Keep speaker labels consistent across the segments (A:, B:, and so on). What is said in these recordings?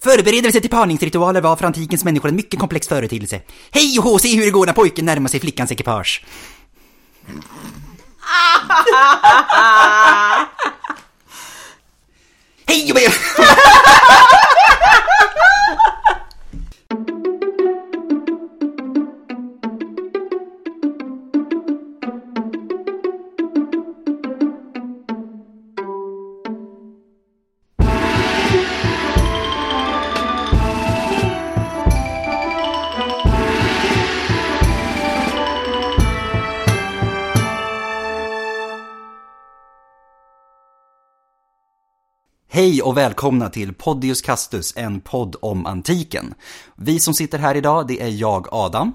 A: Förberedelse till parningsritualer var för antikens människor en mycket komplex företeelse. Hej och hå, se hur det går när pojken närmar sig flickans ekipage. Hej och be- Hej och välkomna till Podius Castus, en podd om antiken. Vi som sitter här idag, det är jag Adam.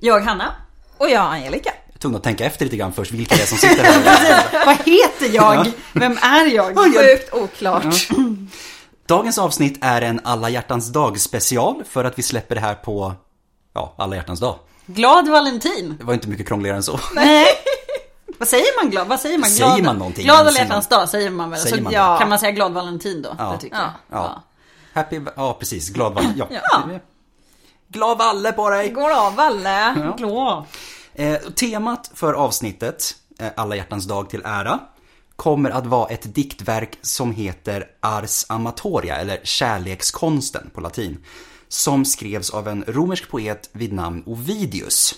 B: Jag Hanna. Och jag Angelica.
A: Jag tog nog att tänka efter lite grann först vilka det är som sitter här.
B: Vad heter jag? Vem är jag? Sjukt oklart.
A: Dagens avsnitt är en alla hjärtans dag special för att vi släpper det här på, ja, alla hjärtans dag.
B: Glad Valentin.
A: Det var inte mycket krångligare än så.
B: Nej. Vad säger man glad? Vad säger man?
A: Säger
B: Glad,
A: man någonting?
B: Glad alla
A: Säger
B: hjärtans dag säger man väl?
A: Säger
B: så
A: man
B: ja.
A: det?
B: kan man säga glad Valentin då?
A: Ja.
B: Det tycker jag.
A: Ja. Happy, ja precis, glad valle. Ja.
B: Ja.
A: Glad valle på dig!
C: Går av Valle.
B: Ja. Glad.
A: Eh, temat för avsnittet, eh, Alla hjärtans dag till ära, kommer att vara ett diktverk som heter Ars Amatoria, eller Kärlekskonsten på latin, som skrevs av en romersk poet vid namn Ovidius.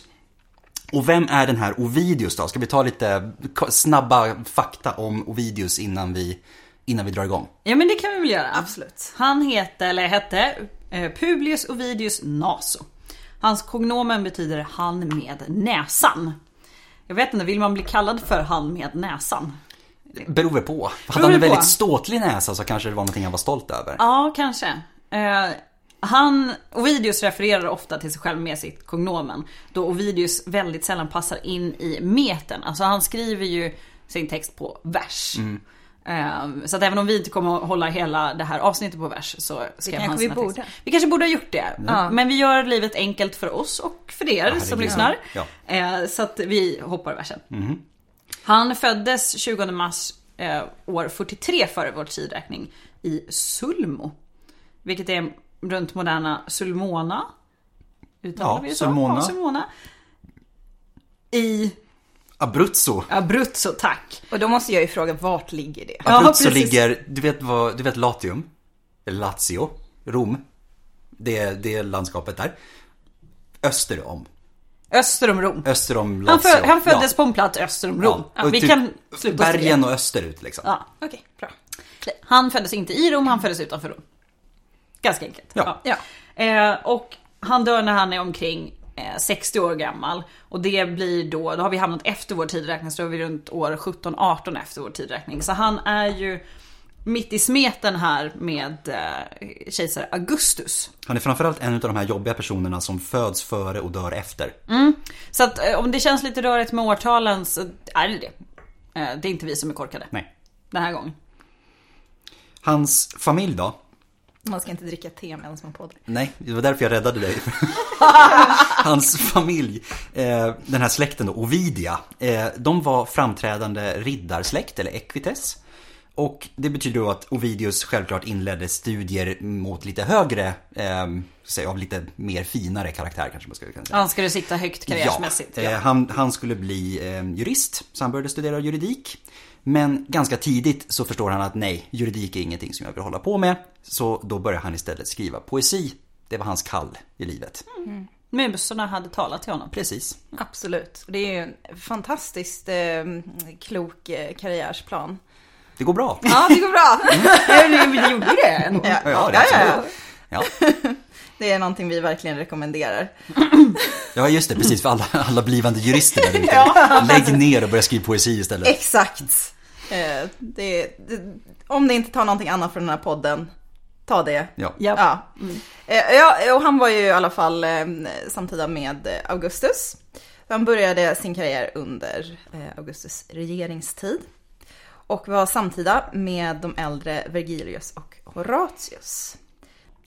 A: Och vem är den här Ovidius då? Ska vi ta lite k- snabba fakta om Ovidius innan vi, innan vi drar igång?
B: Ja men det kan vi väl göra.
C: Absolut.
B: Han hette, eller hette, eh, Publius Ovidius Naso. Hans kognomen betyder han med näsan. Jag vet inte, vill man bli kallad för han med näsan?
A: Beror väl på. Hade
B: Beror
A: han en
B: det på?
A: väldigt ståtlig näsa så kanske det var någonting han var stolt över.
B: Ja, kanske. Eh, han, Ovidius refererar ofta till sig själv med sitt kognomen. Då Ovidius väldigt sällan passar in i metern. Alltså han skriver ju sin text på vers. Eh, Så att även om vi inte kommer att hålla hela det här avsnittet på vers så skrev
C: kanske
B: han
C: vi
B: sina texter.
C: borde.
B: Vi kanske borde ha gjort det. Men vi gör livet enkelt för oss och för er som
A: herregud.
B: lyssnar.
A: Ja. Mhm.
B: Eh, Så att vi hoppar versen. Han föddes 20 mars eh, år 43 före vår tidräkning i Sulmo. Vilket är runt moderna Sulmona. Uttalar
A: Ja,
B: vi det
A: Sulmona.
B: Så? Ja, Sulmona. I
A: Abruzzo
B: Abruzzo, tack.
C: Och då måste jag ju fråga, vart ligger det?
B: Ja,
A: Abruzzo
B: precis.
A: ligger, du vet vad, du vet Latium? Eller Lazio? Rom? Det, det är landskapet där. Öster om.
B: Öster om Rom.
A: Öster om
B: Han,
A: Lazio.
B: fö- han föddes på en plats öster om Rom. Ja,
A: och
B: vi
A: typ
B: kan sluta oss till
A: Bergen
B: det.
A: och österut liksom.
B: Ja.
C: Okej, bra.
B: Han föddes inte i Rom, han föddes utanför Rom. Ganska enkelt.
A: Ja.
C: Ja.
B: Eh, och han dör när han är omkring eh, 60 år gammal. Och det blir då, då har vi hamnat efter vår tidräkning, så då är vi runt år 17-18 efter vår tidräkning. Så han är ju mitt i smeten här med eh, kejsare Augustus.
A: Han är framförallt en av de här jobbiga personerna som föds före och dör efter.
B: Så att eh, om det känns lite rörigt med årtalen så är det det. Eh, det är inte vi som är korkade
A: Nej.
B: den här gången.
A: Hans familj då?
C: Man ska inte dricka te medan man poddar.
A: Nej, det var därför jag räddade dig. Hans familj, eh, den här släkten då, Ovidia, eh, de var framträdande riddarsläkt, eller equites. Och det betyder då att Ovidius självklart inledde studier mot lite högre, eh, säg, av lite mer finare karaktär kanske man skulle kunna säga.
B: Han ska du sitta högt karriärsmässigt.
A: Ja, eh, han, han skulle bli eh, jurist, så han började studera juridik. Men ganska tidigt så förstår han att nej, juridik är ingenting som jag vill hålla på med. Så då börjar han istället skriva poesi. Det var hans kall i livet.
B: Musorna hade talat till honom.
A: Precis.
C: Absolut. Det är ju en fantastiskt eh, klok eh, karriärsplan.
A: Det går bra.
C: Ja, det går bra.
B: Men det gjorde det.
C: ja,
A: Ja, det
C: ja,
A: är
C: ja.
A: absolut. Ja.
C: Det är någonting vi verkligen rekommenderar.
A: ja, just det. Precis, för alla, alla blivande jurister där ute. Lägg ner och börja skriva poesi istället.
C: Exakt. Eh, det, det, om ni inte tar någonting annat från den här podden, ta det.
A: Ja.
B: Ja. Mm.
C: Ja. Eh, ja, och han var ju i alla fall eh, samtida med eh, Augustus. Han började sin karriär under eh, Augustus regeringstid. Och var samtida med de äldre Vergilius och Horatius.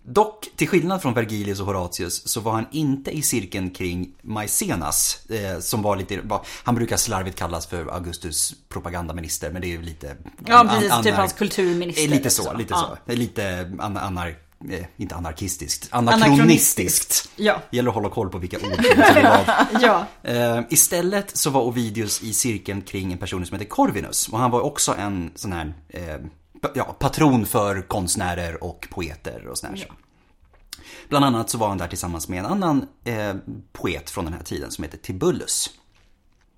A: Dock, till skillnad från Vergilius och Horatius, så var han inte i cirkeln kring Maicenas, eh, som var lite, var, han brukar slarvigt kallas för Augustus propagandaminister, men det är ju lite...
B: Ja, precis.
A: an-
B: typ
A: anar-
B: hans kulturminister.
A: Eh, Lite så,
B: liksom.
A: lite
B: ja.
A: så. Det är Lite an- anar... eh, Inte anarkistiskt,
B: Anakronistiskt.
A: anakronistiskt.
B: Ja.
A: Gäller att hålla koll på vilka ord som betyder vad.
B: Ja.
A: Eh, istället så var Ovidius i cirkeln kring en person som heter Corvinus och han var också en sån här eh, pa- ja, patron för konstnärer och poeter och sån här så. Bland annat så var han där tillsammans med en annan eh, poet från den här tiden som heter Tibullus.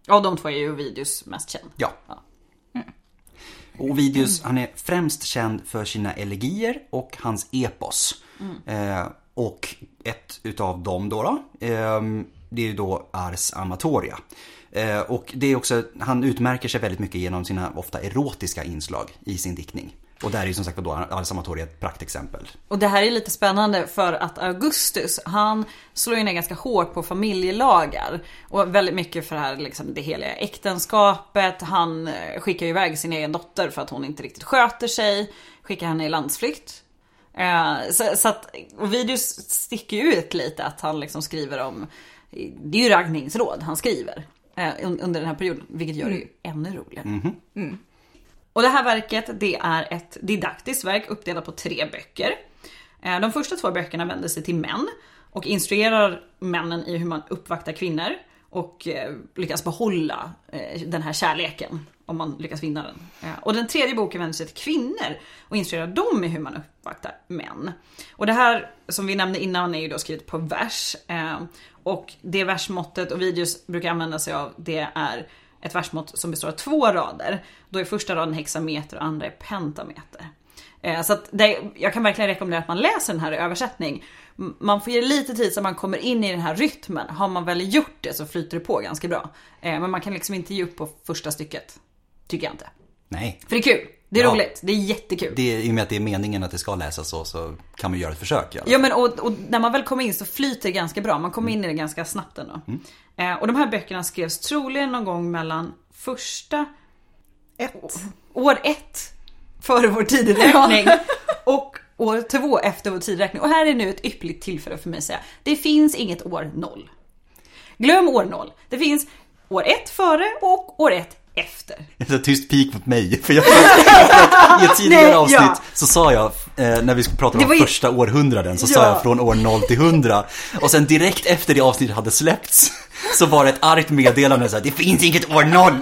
B: Ja, de två är ju Ovidius mest känd.
A: Ja. Mm. Och Ovidius, han är främst känd för sina elegier och hans epos. Eh, och ett utav dem då, då eh, det är ju då Ars Amatoria. Eh, och det är också, han utmärker sig väldigt mycket genom sina ofta erotiska inslag i sin diktning. Och där är ju som sagt då Ars Amatoria ett praktexempel.
B: Och det här är lite spännande för att Augustus, han slår ju ner ganska hårt på familjelagar. Och väldigt mycket för det här liksom det heliga äktenskapet. Han eh, skickar ju iväg sin egen dotter för att hon inte riktigt sköter sig. Skickar henne i landsflykt. Eh, Så, så att Ovidius sticker ju ut lite att han liksom skriver om, det är ju raggningsråd han skriver. eh, un- Under den här perioden, vilket gör det ju ännu roligare. Och det här verket det är ett didaktiskt verk uppdelat på tre böcker. Eh, De första två böckerna vänder sig till män och instruerar männen i hur man uppvaktar kvinnor och eh, lyckas behålla eh, den här kärleken om man lyckas vinna den. Eh, Och den tredje boken vänder sig till kvinnor och instruerar dem i hur man uppvaktar män. Och det här som vi nämnde innan är ju då skrivet på vers eh, och det versmåttet och videos brukar använda sig av det är ett versmått som består av två rader. Då är första raden hexameter och andra är pentameter. Eh, Så att det, jag kan verkligen rekommendera att man läser den här i översättning. M- Man får ge det lite tid så man kommer in i den här rytmen. Har man väl gjort det så flyter det på ganska bra. Eh, Men man kan liksom inte ge upp på första stycket. Tycker jag inte.
A: Nej,
B: För det är kul. Det är
A: Ja.
B: roligt. Det är jättekul.
A: det är, i och med att det är meningen att det ska läsas så, så kan man göra ett försök. Ja.
B: Ja men och, och när man väl kommer in så flyter det ganska bra. Man kommer in i det ganska snabbt ändå.
A: Mm.
B: Eh, och de här böckerna skrevs troligen någon gång mellan första
C: Ett.
B: år ett före vår tideräkning och år två efter vår tideräkning. Och här är nu ett ypperligt tillfälle för mig att säga, det finns inget år noll. Glöm år noll. Det finns år ett före och år ett efter.
A: Ett sånt tyst pik mot mig. För jag, för att I ett tidigare
B: Nej, ja.
A: avsnitt så sa jag, eh, när vi skulle prata
B: Det
A: om
B: var ju-
A: första århundraden, så sa
B: Ja.
A: jag från år 0 till 100. Och sen direkt efter det avsnittet hade släppts så var det ett argt meddelande så här, det finns inget år 0.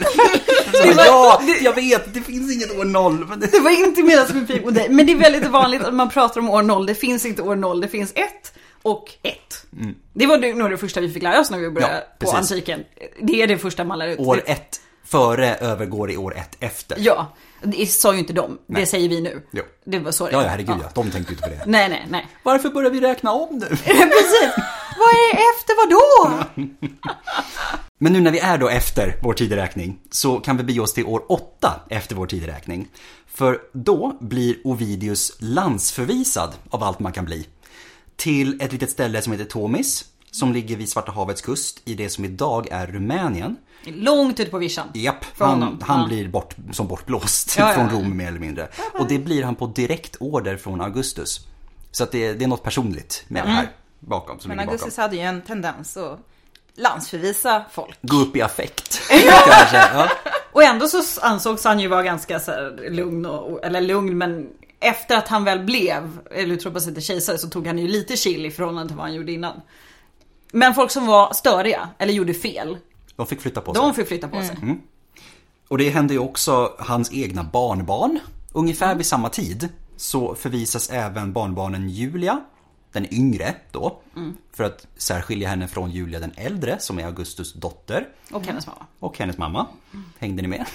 A: Så jag bara, ja, jag vet, det finns inget år 0. Men det...
B: Det var inte menat som en pik mot dig, men det är väldigt vanligt att man pratar om år noll. Det finns inte år noll, det finns ett och ett. Det var det- nog det första vi fick lära oss när vi började
A: Mm. Ja,
B: på
A: precis.
B: antiken. Det är det första man lär ut.
A: År 1 före övergår i år 1 efter. Ja,
B: Ja, det sa ju inte de. Det säger vi nu.
A: Jo.
B: Det var så det
A: ja,
B: var.
A: herregud ja. De tänkte ju inte på det.
B: Nej, nej, nej.
A: Varför börjar vi räkna om nu?
B: Precis. Vad är efter vad då?
A: Men nu när vi är då efter vår tideräkning så kan vi bege oss till år 8 efter vår tideräkning. För då blir Ovidius landsförvisad av allt man kan bli. Till ett litet ställe som heter Tomis, som ligger vid Svarta havets kust i det som idag är Rumänien.
B: Långt ut på vischan.
A: Japp,
B: Från
A: han,
B: honom.
A: han
B: Ja.
A: blir bort, som bortblåst
B: Ja, ja.
A: från Rom mer eller mindre. Och det blir han på direkt order från Augustus. Så att det, är- det är något personligt med det här
B: Mm.
A: bakom. Som
C: Men
A: ligger bakom.
C: Augustus hade ju en tendens att landsförvisa folk.
A: Gå upp i affekt. kanske. Ja.
B: Och ändå så ansågs han ju vara ganska så här lugn och, eller lugn men efter att han väl blev, eller utropades till kejsare så tog han ju lite chill i förhållande till vad han gjorde innan. Men folk som var störiga, eller gjorde fel,
A: De fick flytta på sig.
B: de fick flytta på sig.
A: Och det hände ju också hans egna barnbarn. Ungefär vid samma tid så förvisas även barnbarnen Julia, den yngre då, för att särskilja henne från Julia den äldre som är Augustus dotter
B: Och hennes mamma.
A: och hennes mamma. Hängde ni med?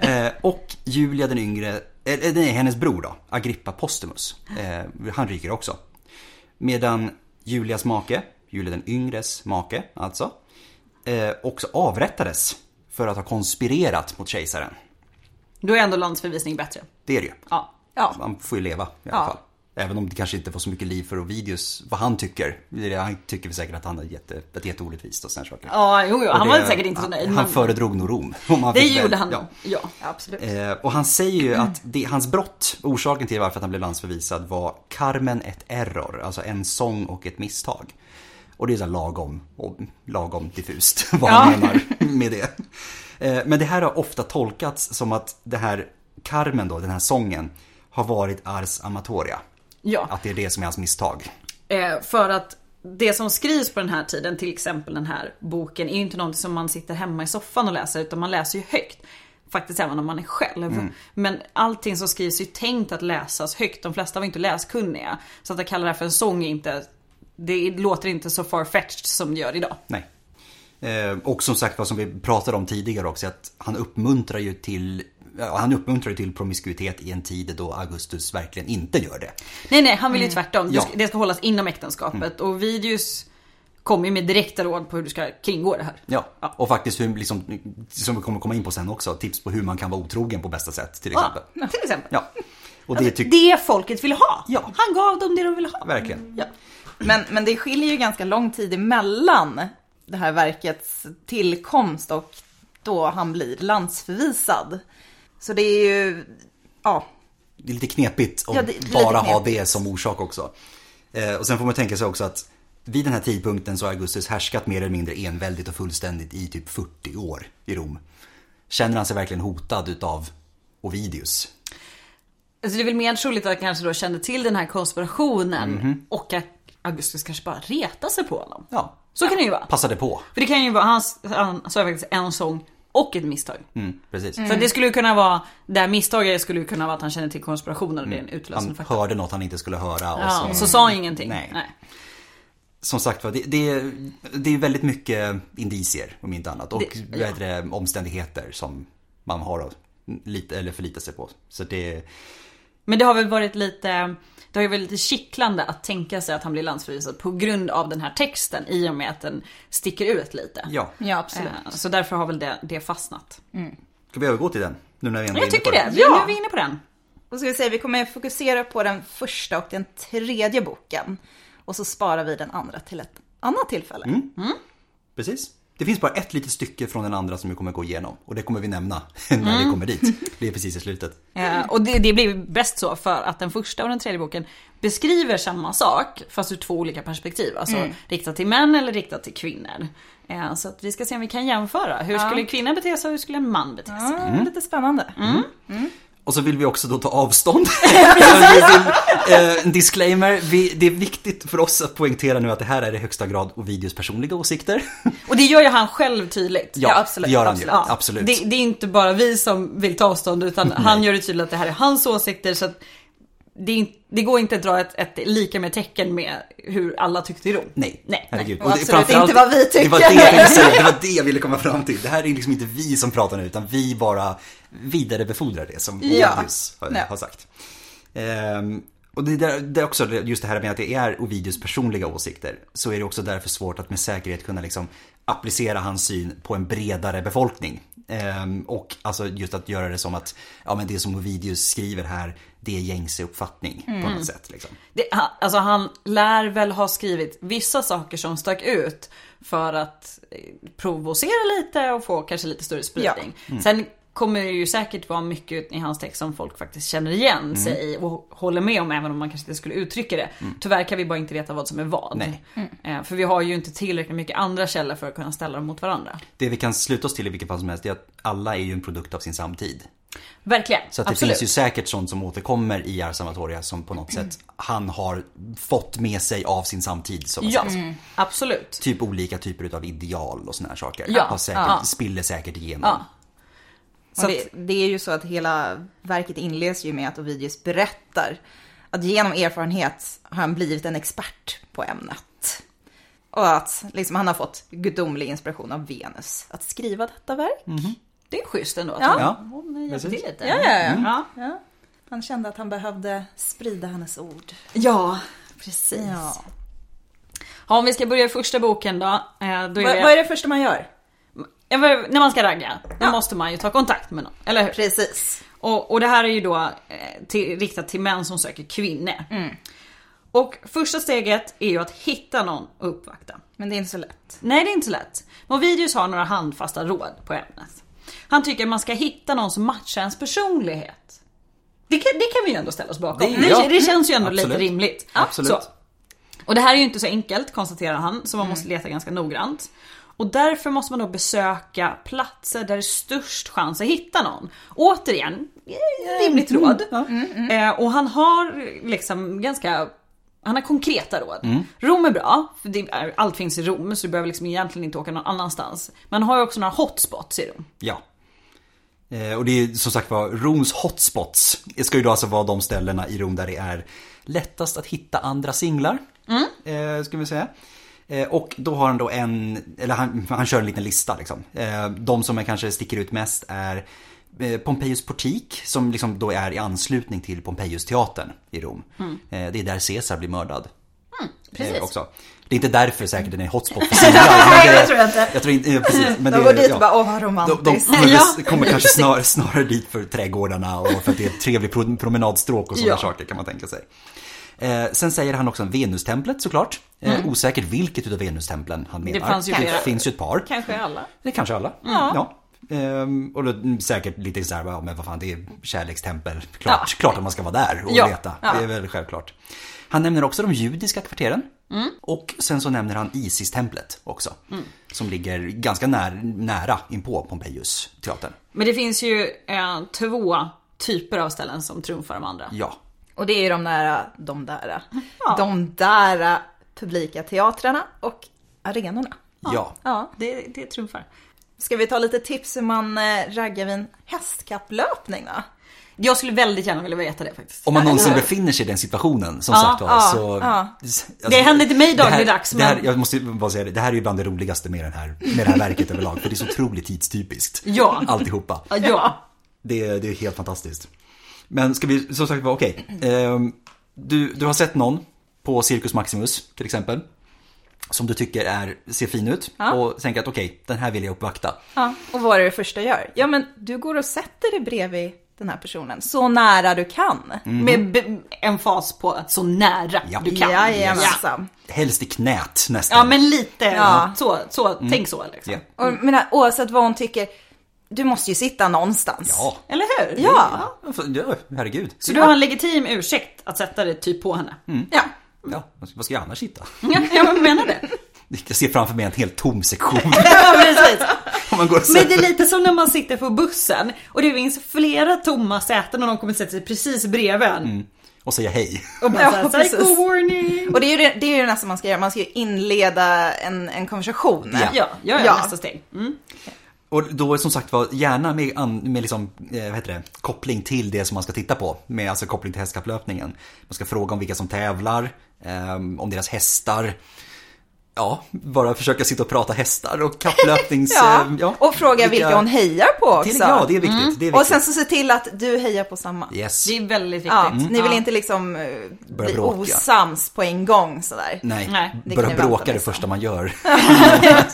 A: eh, och Julia den yngre, eh, nej hennes bror då, Agrippa Postumus. Eh, han ryker också. Medan Julias make, Julia den yngres make alltså, eh, också avrättades för att ha konspirerat mot kejsaren.
B: Då är ändå landsförvisning bättre.
A: Det är det ju.
B: Ja.
C: Ja.
A: Man får ju leva i alla
C: Ja.
A: fall. Även om det kanske inte var så mycket liv för Ovidius, vad han tycker. Han tycker väl säkert att han är jätte, ett jätteorättvist och sådana saker.
B: Ja, jo, jo
A: Och
B: han
A: det-
B: var säkert inte så nöjd.
A: Han,
B: men
A: han föredrog nog Rom. om han
B: det
A: fick väl-
B: gjorde han.
A: ja.
B: Ja.
C: Ja, absolut.
A: Eh, och han säger ju att det, hans brott, orsaken till varför att han blev landsförvisad var Carmen ett error, alltså en sång och ett misstag. Och det är så här lagom, och lagom diffust vad han menar med det. Eh, men det här har ofta tolkats som att det här Carmen då, den här sången, har varit Ars Amatoria.
B: ja.
A: Att det är det som är hans misstag.
B: Eh, för att det som skrivs på den här tiden, till exempel den här boken, är ju inte någonting som man sitter hemma i soffan och läser utan man läser ju högt. Faktiskt även om man är själv.
A: Mm.
B: Men allting som skrivs är ju tänkt att läsas högt. De flesta var ju inte läskunniga. Så att kalla det här för en sång är inte, det låter inte så farfetched som det gör idag.
A: Nej. Eh, Och som sagt vad som vi pratade om tidigare också, att han uppmuntrar ju till ja, han uppmuntrar ju till promiskuitet i en tid då Augustus verkligen inte gör det.
B: Nej nej, han vill ju tvärtom. Det
A: Mm. Ja. Mm.
B: ska, det ska hållas inom äktenskapet. Och Vidius kommer ju med direkta råd på hur du ska kringgå det här.
A: Ja, och faktiskt hur, liksom, som vi kommer komma in på sen också, tips på hur man kan vara otrogen på bästa sätt till exempel.
B: Ja, till exempel.
A: Ja, och Alltså, det tycker
B: Det folket ville ha.
A: Ja.
B: Han gav dem det de ville ha.
A: jag verkligen.
B: Ja.
C: Men, men det skiljer ju ganska lång tid emellan det här verkets tillkomst och då han blir landsförvisad. Så det är ju, ja,
A: Det är lite knepigt att
C: Ja, det är lite
A: bara ha
C: knepigt.
A: det som orsak också. Eh, och sen får man tänka sig också att vid den här tidpunkten så har Augustus härskat mer eller mindre enväldigt och fullständigt i typ 40 år i Rom. Känner han sig verkligen hotad utav Ovidius?
B: Alltså det är väl mer troligt att han kanske då kände till den här konspirationen
A: Mhm.
B: och att Augustus kanske bara retade sig på honom.
A: Ja,
B: Så kan det ju vara.
A: passade på.
B: För det kan ju vara, han, han sa ju faktiskt en sång och ett misstag.
A: Mm, precis.
B: Så det skulle ju kunna vara, det här misstaget skulle ju kunna vara att han kände till konspirationen och det är en utlösande
A: Mm. Han
B: faktor.
A: hörde något han inte skulle höra och
B: Ja,
A: så
B: så sa han ingenting.
A: Nej.
B: Nej.
A: som sagt var, det, det, det är väldigt mycket indicier om inte annat. Och
B: Det-
A: vad heter det, omständigheter som man har att lita, eller förlita sig på. Så det,
B: Men det har väl varit lite, det har ju varit lite kittlande att tänka sig att han blir landsförvisad på grund av den här texten i och med att den sticker ut lite.
A: ja.
C: ja absolut.
B: Eh, Så därför har väl det, det fastnat.
A: Ska vi övergå till den? Nu när vi ändå är
B: Jag
A: inne på
B: tycker det.
C: Ja.
B: Ja. Nu är vi inne på den.
C: Och ska vi säga, vi kommer fokusera på den första och den tredje boken. Och så sparar vi den andra till ett annat tillfälle.
A: Precis. Det finns bara ett litet stycke från den andra som vi kommer gå igenom. Och det kommer vi nämna när vi kommer dit. Det är precis i slutet.
B: Eh, och det, det blir bäst så för att den första och den tredje boken beskriver samma sak fast ur två olika perspektiv. Alltså
A: Mm.
B: riktat till män eller riktat till kvinnor. Eh, så att vi ska se om vi kan jämföra. Hur skulle en kvinna bete sig och hur skulle en man bete sig?
C: Ja, Lite spännande.
A: Och så vill vi också då ta avstånd. Vi vill, eh, en disclaimer, vi, det är viktigt för oss att poängtera nu att det här är i högsta grad Ovidius personliga åsikter.
B: Och det gör ju han själv tydligt.
A: Ja, Ja, absolut, det gör han ju. absolut. Absolut.
B: Det, det är inte bara vi som vill ta avstånd utan han gör det tydligt att det här är hans åsikter. Så att det, är in- det går inte att dra ett, ett lika med tecken med hur alla tyckte i Rom.
A: Nej,
B: Nej,
A: herregud.
C: nej. Absolut inte vad vi
A: Det var det,
C: tycker.
A: jag ville säga, det var det jag ville komma fram till. Det här är liksom inte vi som pratar nu, utan vi bara vidarebefordrar det som
C: Ja.
A: Ovidius har,
C: Nej.
A: har sagt. Ehm, och det, där, det är också just det här med att det är Ovidius personliga åsikter. Så är det också därför svårt att med säkerhet kunna liksom applicera hans syn på en bredare befolkning. Ehm, och alltså just att göra det som att ja, men det som Ovidius skriver här, det är gängse uppfattning på
C: Mm.
A: något sätt. Liksom.
B: Det, han, alltså han lär väl ha skrivit vissa saker som stack ut för att eh, provocera lite och få kanske lite större spridning.
A: Mm.
B: Sen kommer det ju säkert vara mycket i hans text som folk faktiskt känner igen
A: Mm.
B: sig i och håller med om även om man kanske inte skulle uttrycka det. Tyvärr kan vi bara inte veta vad som är vad.
A: Nej.
B: Eh, För vi har ju inte tillräckligt mycket andra källor för att kunna ställa dem mot varandra.
A: Det vi kan sluta oss till i vilket fall som helst är att alla är ju en produkt av sin samtid.
B: Verkligen,
A: Så att det
B: absolut.
A: finns ju säkert sånt som återkommer i Ars Amatoria som på något sätt han har fått med sig av sin samtid. Så att
B: Ja,
A: säga.
B: absolut.
A: Typ olika typer utav ideal och såna här saker.
B: Ja,
A: Har säkert,
B: ja.
A: Spiller säkert igenom.
B: Ja. Så
C: Och
B: att-
C: det, det är ju så att hela verket inleds ju med att Ovidius berättar att genom erfarenhet har han blivit en expert på ämnet. Och att liksom, han har fått gudomlig inspiration av Venus att skriva detta verk.
A: Mm.
B: Det är schysst ändå att
C: Ja.
A: Ja,
B: hon, hon hjälpte
A: precis.
B: till lite. Mm.
C: Ja, ja, ja.
B: ja.
C: Ja. Han kände att han behövde sprida hennes ord.
B: Ja, precis. Ja.
C: Ja.
B: om vi ska börja i första boken då. eh, då är
C: Vad,
B: det,
C: vad är det första man gör?
B: Ja, vad- När man ska ragga, då
C: Ja.
B: måste man ju ta kontakt med någon, eller hur?
C: Precis.
B: Och, och det här är ju då eh, till, riktat till män som söker kvinnor. Och första steget är ju att hitta någon och uppvakta.
C: Men det är inte så lätt.
B: Nej, det är inte så lätt. Movidius har några handfasta råd på ämnet. Han tycker man ska hitta någon som matchar ens personlighet. Det kan, det kan vi ju ändå ställa oss bakom.
A: Det-
B: Det,
A: ja.
B: det känns ju ändå lite
A: Absolut.
B: rimligt.
A: Absolut.
B: Så. Och det här är ju inte så enkelt konstaterar han, så man måste leta ganska noggrant. Och därför måste man då besöka platser där det är störst chans att hitta någon. Återigen, eh, rimligt råd. Eh, och han har liksom ganska, han har konkreta råd.
A: Mm.
B: Rom är bra, för det är, allt finns i Rom så du behöver liksom egentligen inte åka någon annanstans. Man har ju också några hotspots i Rom.
A: Ja. Eh, Och det är som sagt var Roms hotspots. Det ska ju då alltså vara de ställena i Rom där det är lättast att hitta andra singlar.
C: Mm.
A: Eh, ska vi säga. Eh, Och då har han då en, eller han, han kör en liten lista liksom. Eh, De som är kanske sticker ut mest är eh, Pompejus portik som liksom då är i anslutning till Pompejus teatern i Rom. Eh, Det är där Caesar blir mördad.
C: Mm. precis.
A: Eh, Också. Det är inte därför säkert den är hotspot för singlar. men det-
C: jag tror inte.
A: Jag tror inte, eh, precis. Men
C: De
A: det-
C: går dit
A: ja.
C: och bara åh vad
A: De, de
C: romantiskt.
A: kommer,
B: Ja,
A: kommer kanske snar, snarare dit för trädgårdarna och för att det är ett trevligt pro- promenadstråk och sådana
B: Ja.
A: saker kan man tänka sig. Eh, sen säger han också om Venustemplet såklart. Eh, Osäkert vilket utav Venustemplen han menar.
B: Mm. fanns ju flera.
A: det finns ju ett par.
B: Kanske alla.
A: Det kanske alla. Ja. Ehm, och då, mm, säkert lite såhär, ja, men vad fan det är kärlekstempel. Klart,
B: Ja.
A: klart att man ska vara där och
B: Ja.
A: leta.
B: Ja.
A: Det är väl självklart. Han nämner också de judiska kvarteren.
B: Mm.
A: Och sen så nämner han Isis-templet också. Som ligger ganska när, nära inpå Pompejus teatern.
B: Men det finns ju eh, två typer av ställen som trumfar de andra.
A: Ja.
C: Och det är ju de där, de där,
B: Ja.
C: de där publika teatrarna och arenorna.
A: Ja.
B: Ja, det, det trumfar.
C: Ska vi ta lite tips hur man eh, raggar vid en hästkapplöpning då?
B: Jag skulle väldigt gärna vilja veta det faktiskt.
A: Om man någonsin befinner sig i den situationen som
B: Ja,
A: sagt var
C: ja,
A: så...
C: ja.
A: Alltså,
B: Det händer inte mig
A: det här-
B: dagligdags,
A: det här,
B: men-
A: Jag måste ju bara säga det, det här är ju bland det roligaste med, den här, med det här verket överlag. För det är så otroligt tidstypiskt.
B: Ja.
A: Alltihopa.
B: Ja, ja.
A: Det, är- det är helt fantastiskt. Men ska vi, som sagt var, okej. Ehm, du, du har sett någon på Circus Maximus till exempel. Som du tycker är, ser fin ut och tänker att okej, den här vill jag uppvakta.
C: Ja, och vad är det första jag gör? Ja, men du går och sätter dig bredvid den här personen så nära du kan.
A: Mm.
B: Med be- en fas på att så nära
A: Ja. Alltså.
B: du kan. ja.
C: Jajamensan.
A: Helst i knät nästan.
B: ja men lite
C: Ja.
B: så, så tänk så liksom.
A: Mm. Ja.
C: Och jag menar, oavsett vad hon tycker, du måste ju sitta någonstans.
A: Ja.
B: Eller hur?
C: Ja.
A: Ja, för- ja, herregud.
B: Så du har en legitim ursäkt att sätta dig typ på henne.
A: Mm.
C: ja.
A: Ja, vad ska- vad ska jag annars hitta?
B: Ja, jag menar det.
A: Jag ser framför mig en helt tom sektion.
B: Ja, precis.
A: Om man går och
B: Men det
A: sätter.
B: är lite som när man sitter på bussen och det finns flera tomma säten och någon kommer sätta sig precis bredvid en.
A: Mm. Och säger hej.
B: Och bara
C: Ja,
B: såhär,
C: precis.
B: psycho warning.
C: Och det är ju det, det, är ju det nästa man ska göra, man ska ju inleda en, en konversation.
A: Ja.
B: Ja, jag är
C: Ja.
B: nästa steg. Mm.
A: Och då som sagt var, gärna med, an- med liksom, eh, vad heter det, koppling till det som man ska titta på. Med, alltså koppling till hästkapplöpningen. Man ska fråga om vilka som tävlar, ehm, om deras hästar. Ja, bara försöka sitta och prata hästar och kapplöpnings...
C: Ja.
A: ehm, ja,
C: Och fråga vilka, hon hejar på också.
A: till, Ja, det är viktigt. Det är viktigt.
C: Och sen så se till att du hejar på samma.
A: yes.
B: Det är väldigt viktigt.
C: Ja, Ni vill
B: Ja.
C: inte liksom eh, bli
A: bråka.
C: osams på en gång sådär.
A: Nej,
B: Nej, det
A: börja
C: kan jag
A: bråka
C: vänta
A: det
C: liksom.
A: första man gör.
C: Inte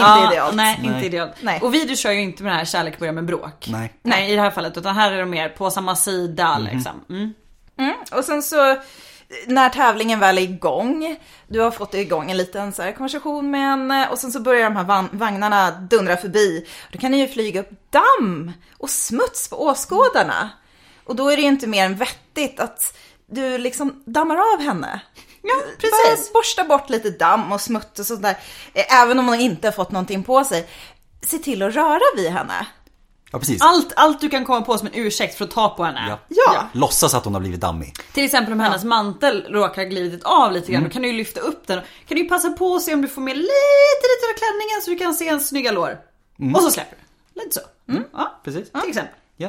B: Ja,
C: idealt.
B: Nej,
A: Nej.
B: inte idealt.
C: Nej.
B: Och video kör ju inte med det här kärlek börjar med bråk.
A: Nej. Mhm.
B: Nej, i det här fallet. Utan här är de mer på samma sida liksom. Mm.
C: Mm. Och sen så när tävlingen väl är igång, du har fått igång en liten så här konversation med en och sen så börjar de här van- vagnarna dundra förbi. Då kan det ju flyga upp damm och smuts på åskådarna. Och då är det ju inte mer än vettigt att du liksom dammar av henne. Ja,
B: precis.
C: Bara borsta bort lite damm och smutt och sånt där. Eh, Även om hon inte har fått någonting på sig. Se till att röra vid henne.
A: Ja, precis.
B: Allt, allt du kan komma på som en ursäkt för att ta på henne.
A: Ja.
C: Ah, Ja.
A: Låtsas att hon har blivit dammig.
B: Till exempel om hennes mantel råkar ha glidit av lite
A: Mm.
B: grann. Då kan du ju lyfta upp den. Kan du ju passa på att se om du får med lite, lite av klänningen så du kan se hennes snygga lår.
A: Mm.
B: Och så släpper du. Lite så. Mm. Ja,
A: Precis.
B: till exempel.
A: Ja.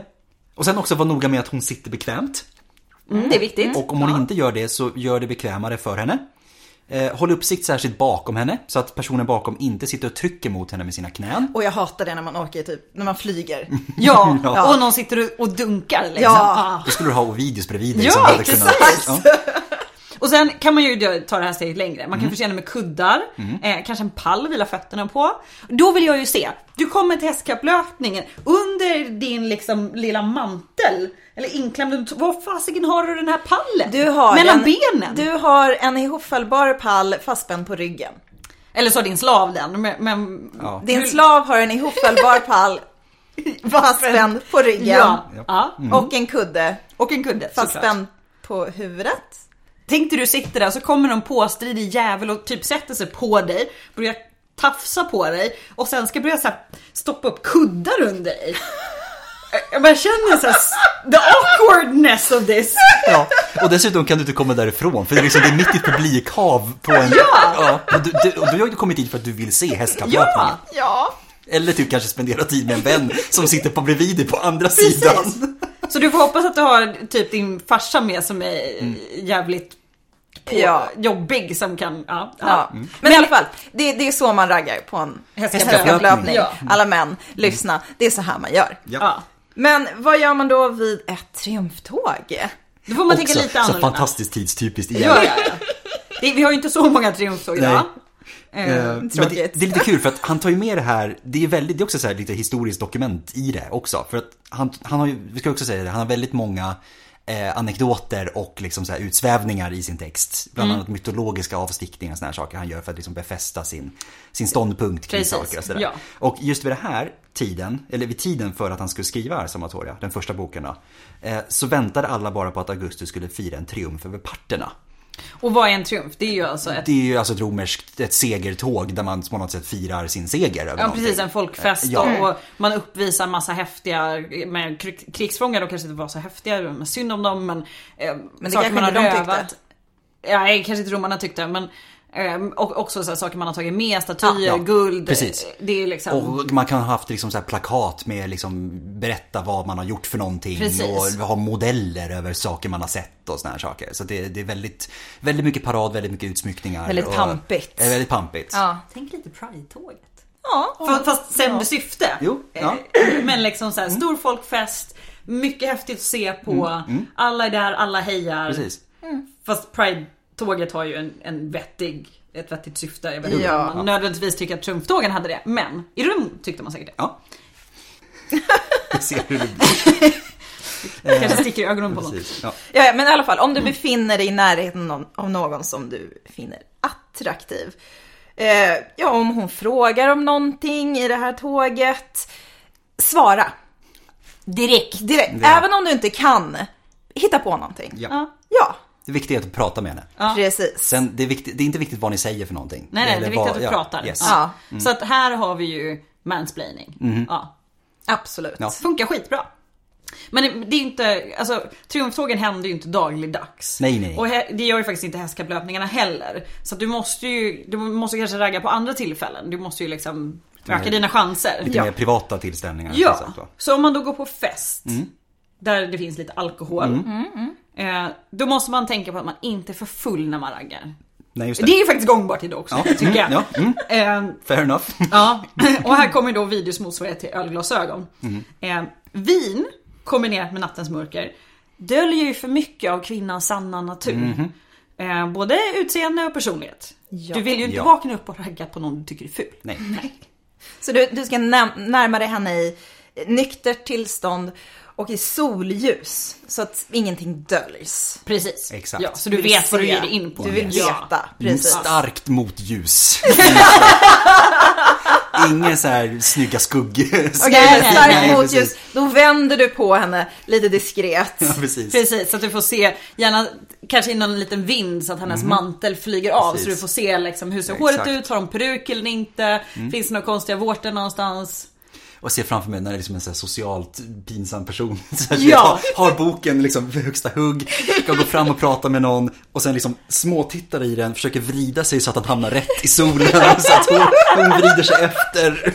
A: Och sen också vara noga med att hon sitter bekvämt.
B: Det är viktigt.
A: Och om hon inte gör det så gör det bekvämare för henne. Eh, håll uppsikt särskilt bakom henne så att personen bakom inte sitter och trycker mot henne med sina knän.
C: Och jag hatar det när man åker typ, när man flyger.
B: Ja,
A: Ja.
B: och någon sitter och- och dunkar liksom.
C: Ja.
A: Då skulle du ha Ovidius bredvid dig
B: Ja,
A: som hade kunnat...
B: precis.
A: Ja.
B: Och sen kan man ju då ta det här steget längre. Man kan förse den med kuddar, eh, kanske en pall vila fötterna på. Då vill jag ju se, du kommer till hästkapplöpningen under din liksom lilla mantel, eller inklämd, under- var fasiken har du den här pallen?
C: Du har
B: Mellan
C: en,
B: benen?
C: Du har en ihopfällbar pall fastspänd på ryggen.
B: Eller så har din slav den, men... men...
A: Ja.
C: Din slav har en ihopfällbar pall fastspänd på ryggen.
B: Ja. ja.
C: Och en kudde
B: Och en kudde såklart.
C: fastspänd på huvudet.
B: Tänk dig du sitter där så kommer någon påstridig jävel och typ sätter sig på dig, börjar tafsa på dig och sen ska börja så här stoppa upp kuddar under dig. Jag bara känner såhär the awkwardness of this.
A: Ja, och dessutom kan du inte komma därifrån för det är, liksom, det är mitt i ett publikhav på en...
B: Ja.
A: och du, du, och du har ju kommit dit för att du vill se hästkapplöpningen.
B: Ja!
C: Ja.
A: Eller typ kanske spendera tid med en vän som sitter på bredvid dig på andra
B: Precis.
A: sidan.
B: Så du får hoppas att du har typ din farsa med som är
A: Mm.
B: jävligt på,
C: Ja.
B: jobbig som kan, ja. ja.
C: Ja. Men, i alla fall, det, det är så man raggar på en
B: Hästkapplöpning.
C: hästkapplöpning.
B: Ja.
C: Alla män, lyssna. Det är så här man gör.
B: Ja.
C: Men vad gör man då vid ett triumftåg?
B: Då får man tänka
A: Också,
B: lite
A: så
B: annorlunda.
A: fantastiskt tidstypiskt igen.
B: Ja, ja, ja. Det, vi har ju inte så många triumftåg idag.
A: Eh, men det,
C: tråkigt.
A: det är lite kul för att han tar ju med det här, det är, väldigt, det är också så här lite historiskt dokument i det också. För att han, han har ju, vi ska också säga det, han har väldigt många eh, anekdoter och liksom så här utsvävningar i sin text. Bland annat mytologiska avstickningar och såna här saker han gör för att liksom befästa sin, sin ståndpunkt kring
B: Precis,
A: saker och sådär.
B: ja.
A: Och just vid den här tiden, eller vid tiden för att han skulle skriva Ars Amatoria, den första boken då, eh, så väntade alla bara på att Augustus skulle fira en triumf över parterna.
B: Och vad är en triumf? Det är ju alltså ett
A: Det är ju alltså ett romerskt ett segertåg där man på något sätt firar sin seger över
B: Ja
A: någonting.
B: precis, en folkfest
A: Ja. Mm.
B: och, och man uppvisar massa häftiga med krig- krigsfångar, de kanske inte var så häftiga, men synd om dem men... Eh, saker
C: det kanske
B: man har
C: inte de tyckte.
B: rövat. Ja, nej, kanske inte romarna tyckte men... Eh, och också så här, saker man har tagit med, statyer,
A: Ja, ja,
B: guld.
A: precis.
B: eh, Det är liksom...
A: Och man kan ha haft liksom så här plakat med liksom berätta vad man har gjort för någonting
B: Precis.
A: och ha modeller över saker man har sett och såna här saker. Så det, det är väldigt, väldigt mycket parad, väldigt mycket utsmyckningar.
C: Väldigt
A: och,
C: pampigt.
A: Eh, väldigt pampigt.
C: Ja.
B: Tänk lite Pride-tåget.
C: Ja.
B: Fast, fast sämre syfte.
A: Jo, ja. Mm.
B: Eh, Men liksom så här, stor folkfest, mycket häftigt att se på, alla är där, alla hejar.
A: Mm. Precis.
B: Fast Pride-tåget har ju en, en vettig, ett vettigt syfte. Jag vet inte
C: Ja.
B: om man nödvändigtvis tycker att Trumftågen hade det. Men i Rom tyckte man säkert det.
A: Ja. Vi ser hur det
B: Kanske sticker i ögonen på någon.
A: precis. Ja.
C: Ja, ja, men i alla fall, om du
B: Mm.
C: befinner dig i närheten av- av någon som du finner attraktiv. Eh, ja, om hon frågar om någonting i det här tåget. Svara
B: Direkt.
C: direkt,
A: Ja.
C: även om du inte kan hitta på någonting.
A: Ja.
B: Ja.
C: Ja,
A: Det viktiga är att prata med henne.
C: precis.
A: Sen, det, är viktigt, det är inte viktigt vad ni säger för någonting.
B: Nej, nej, det
A: Eller
B: är viktigt
A: vad-
B: att du
A: ja,
B: pratar.
A: Yes. Mm.
B: Ja. Så att här har vi ju mansplaining.
A: Mhm.
B: Ja.
C: Absolut.
A: Ja.
B: Funkar skitbra. Men det, det är ju inte, alltså triumftågen händer ju inte dagligdags.
A: Nej, nej, nej.
B: Och he, det gör ju faktiskt inte hästkapplöpningarna heller. Så att du måste ju, du måste kanske ragga på andra tillfällen. Du måste ju liksom öka
A: mer-
B: dina chanser.
A: Lite mer privata tillställningar.
B: Ja,
A: till exempel.
B: så om man då går på fest
A: Mm.
B: där det finns lite alkohol.
C: Mm,
B: Eh, då måste man tänka på att man inte är för full när man raggar.
A: Nej, just det.
B: Det är ju faktiskt gångbart idag också,
A: Ja,
B: tycker jag.
A: mm, ja, mm.
B: Eh,
A: Fair enough.
B: ja. Och här kommer ju då videos motsvarighet till ölglasögon.
A: Mm.
B: Eh, vin kombinerat med nattens mörker döljer ju för mycket av kvinnans sanna
A: Mhm.
B: natur. Eh, både utseende och personlighet.
C: Ja.
B: Du vill ju inte
A: Ja.
B: vakna upp och ragga på någon du tycker är ful.
A: Nej.
C: Så du, du ska näm- närma dig henne i nyktert tillstånd och i solljus. Så att ingenting döljs.
B: Precis.
A: Exakt.
B: Ja, så du,
C: Du vill
B: vet vad du
C: se.
B: ger dig in på. Mm.
C: Du vill
B: Ja.
C: veta, precis.
A: Starkt motljus. Ingen så här snygga skugg.
C: Okej,
B: Nej,
C: starkt
A: nej,
C: motljus.
A: precis.
C: Då vänder du på henne lite diskret.
A: Ja, precis.
B: Precis, så att du får se, gärna kanske i någon liten vind så att hennes mantel flyger av.
A: Mhm. Precis.
B: Så du får se liksom, hur ser
A: Ja,
B: håret
A: exakt. Mm.
B: ut, har hon peruk eller inte? Finns det några konstiga vårtor någonstans?
A: Och ser framför mig när det är liksom en så här socialt pinsam person. Så här,
B: Ja.
A: har, har boken liksom vid högsta hugg, ska gå fram och prata med någon och sen liksom småtittar i den, försöker vrida sig så att han hamnar rätt i solen. Så att hon, hon vrider sig efter.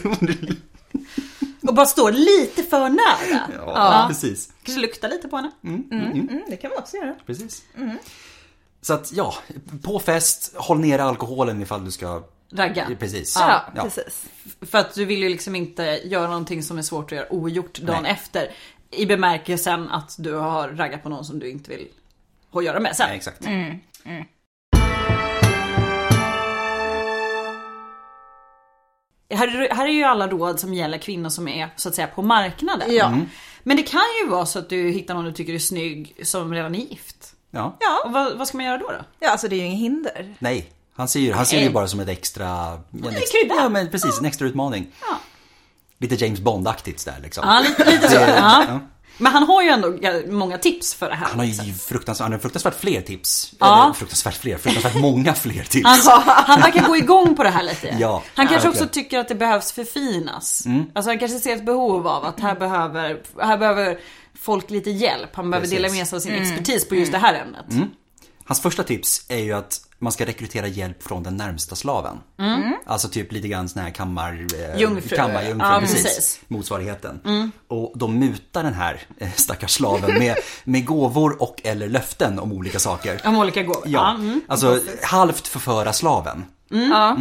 B: Och bara står lite för nära.
A: Ja, precis.
B: Kanske lukta lite på henne.
C: Mm, det kan man också göra.
A: precis. Så att ja, på fest, håll nere alkoholen ifall du ska...
B: Ragga.
A: Precis.
C: Ja, precis.
B: För att du vill ju liksom inte göra någonting som är svårt att göra ogjort dagen
A: Nej.
B: efter. I bemärkelsen att du har raggat på någon som du inte vill ha att göra med sen.
A: Ja, exakt.
B: här, här är ju alla råd som gäller kvinnor som är så att säga på marknaden.
C: Ja.
B: Men det kan ju vara så att du hittar någon du tycker är snygg som redan är gift.
A: Ja.
C: Ja.
B: Och vad, vad ska man göra då? då?
C: ja, alltså det är ju inget hinder.
A: Nej, han ser ju, han ser ju
B: Nej.
A: bara som ett extra... En extra
B: krydda.
A: ja, men precis. En extra utmaning.
B: Ja.
A: Lite James Bond-aktigt där liksom.
B: Ja, lite, lite så.
A: ja.
B: Ja. Men han har ju ändå ga- många tips för det här.
A: Han har ju fruktansvärt, han har fruktansvärt fler tips.
B: Ja.
A: Eller, fruktansvärt fler, fruktansvärt många fler tips.
B: Han, han verkar gå igång på det här lite.
A: Ja,
B: han kanske också
A: verkligen. Mm.
B: tycker att det behövs förfinas. Alltså han kanske ser ett behov av att här behöver, här behöver folk lite hjälp. Han behöver
A: Precis. Mm.
B: dela med sig av sin expertis på just det här ämnet.
A: Hans första tips är ju att man ska rekrytera hjälp från den närmsta slaven. Alltså typ lite grann sån här kammar... Eh,
B: Mm. Jungfru.
A: Kammarjungfru,
B: Ja,
A: precis.
B: precis. Mm.
A: Motsvarigheten. Och de mutar den här eh, stackars slaven med, med gåvor och eller löften om olika saker.
B: Om olika gåvor.
A: Ja,
B: Ja. Mm.
A: alltså halvt förföra slaven.
C: Ja.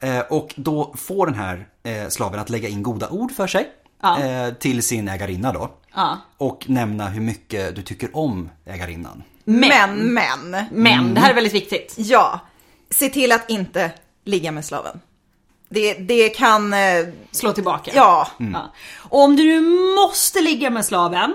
A: Eh, och då får den här eh, slaven att lägga in goda ord för sig
B: Ja.
A: eh, till sin ägarinna då.
B: Ja.
A: Och nämna hur mycket du tycker om ägarinnan.
C: Men, men,
B: Men det här är
A: Mm.
B: väldigt viktigt.
C: Ja, se till att inte ligga med slaven. Det, det kan, eh,
B: Slå tillbaka.
C: ja,
A: Mm.
B: Ja. Och om du nu måste ligga med slaven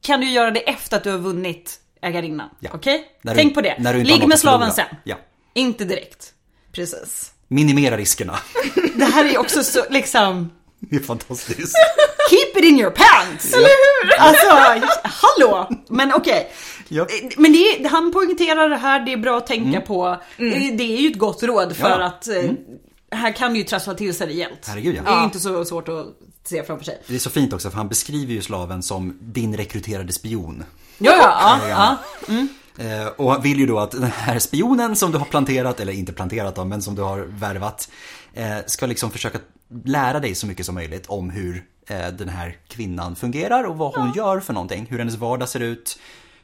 B: kan du göra det efter att du har vunnit ägarinnan.
A: Ja.
B: Okej?
A: När du-
B: Tänk på det.
A: när du inte har
B: Ligg
A: något
B: med
A: att
B: slaven sen.
A: förlora. Ja.
B: Inte direkt.
C: precis.
A: Minimera riskerna.
B: Det här är också så liksom
A: Det är fantastiskt.
B: Keep it in your pants! Eller hur? Alltså, hallå! Men okej.
A: Japp.
B: Men det är, han poängterar det här, det är bra att tänka på. Det är ju ett gott råd för
A: Mm. Ja. Mm.
B: att eh, här kan du ju trassla till sig rejält.
A: Herregud, ja.
B: Det är ju
A: Ja.
B: inte så svårt att se framför sig.
A: Det är så fint också för han beskriver ju slaven som din rekryterade spion.
B: Ja, ja, ja.
A: Ja.
B: ja.
A: Eh, och han vill ju då att den här spionen som du har planterat, eller inte planterat då, men som du har värvat, eh, ska liksom försöka lära dig så mycket som möjligt om hur eh, den här kvinnan fungerar och vad hon gör för någonting. Hur hennes vardag ser ut,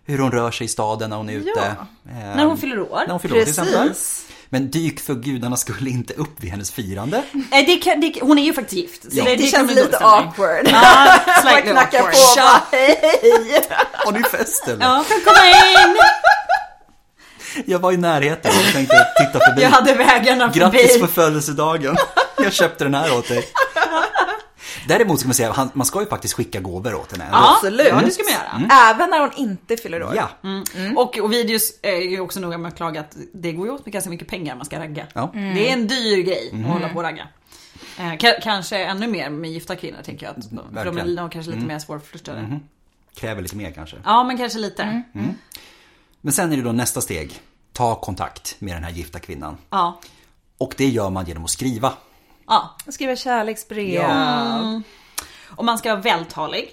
A: hur hon rör sig i staden när hon är ute. Eh,
B: När hon fyller år.
A: när hon fyller år till exempel.
C: Precis.
A: Men dyk för gudarna skulle inte upp vid hennes firande.
B: Nej, Det kan, det, hon är ju faktiskt gift. Så
A: Ja.
B: det,
C: Det,
B: kan
C: känns
B: bli dålig
C: lite
B: stämning.
C: awkward.
B: Ja,
C: Bara
B: slightly
C: knacka
B: awkward.
C: på och bara, hej.
A: Har ni fest eller?
B: Ja, kan komma in!
A: Jag var i närheten och tänkte titta förbi.
B: Jag hade vägarna
A: Grattis
B: förbi.
A: på födelsedagen. Jag köpte den här åt dig. Däremot ska man säga, han- man ska ju faktiskt skicka gåvor åt henne.
B: Ja,
C: Absolut.
B: Ja, det ska man göra.
C: Även när hon inte fyller år.
A: Ja.
B: Mm.
C: Mm.
B: Och Ovidius är ju också noga med att klaga att det går ju åt med ganska mycket pengar om man ska ragga.
A: Ja.
C: Mm.
B: Det är en dyr grej att hålla på och ragga. Eh, ka- kanske ännu mer med gifta kvinnor tänker jag. Att de, för de är
A: verkligen.
B: nog kanske lite mer svårflörtade.
A: Kräver lite mer kanske.
B: Ja men kanske lite.
C: Mm.
A: Men sen är det då nästa steg. Ta kontakt med den här gifta kvinnan.
B: Ja.
A: Och det gör man genom att skriva.
B: ja.
C: Skriva kärleksbrev.
B: Och man ska vara vältalig.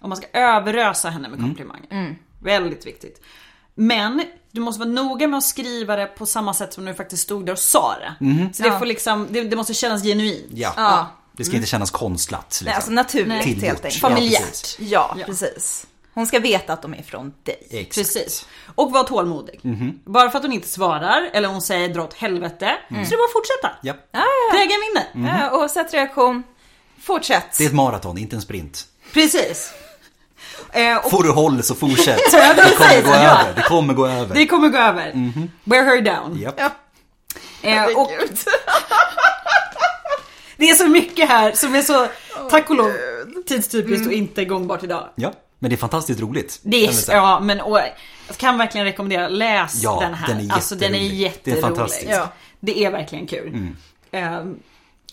B: Och man ska överösa henne
A: Mm.
B: med komplimanger. Väldigt viktigt. Men du måste vara noga med att skriva det på samma sätt som när du faktiskt stod där och sa det. Så det, får liksom, det, det måste kännas genuint.
A: Mm-hmm. Ja.
C: Ja.
A: Det ska inte kännas konstlat. Liksom.
C: Nej, alltså naturligt
B: Mm. Nej.
A: Tillgjort.
C: helt enkelt.
A: Ja,
B: Familjärt.
A: precis.
C: Ja,
B: Ja.
C: precis. Hon ska veta att de är från dig.
A: Exakt.
B: Precis. Och var tålmodig.
A: Mm-hmm.
B: Bara för att hon inte svarar eller hon säger dra åt helvete
A: Mm.
B: så det är bara att fortsätta.
A: Ja.
B: Trägen vinner.
A: Mm.
C: Ja, oavsett reaktion, fortsätt.
A: Det är ett maraton, inte en sprint.
B: Precis. Eh, och
A: Får du håll så fortsätt. Det kommer gå över. Mm-hmm. Det kommer gå över.
B: det kommer gå över. Wear her down.
A: Japp.
C: Ja.
B: Eh, och
C: Herregud.
B: det är så mycket här som är så, tack och lov, tidstypiskt
A: Mm.
B: och inte gångbart idag.
A: Ja. Men det är fantastiskt roligt.
B: Det
A: kan jag väl
B: är,
A: säga.
B: ja, men och, jag kan verkligen rekommendera, läs
A: Ja,
B: den här.
A: den är
B: alltså den är
A: jätterolig.
B: jätterolig.
A: Det är fantastiskt. Mm.
C: Ja.
B: Det är verkligen kul. Ehm,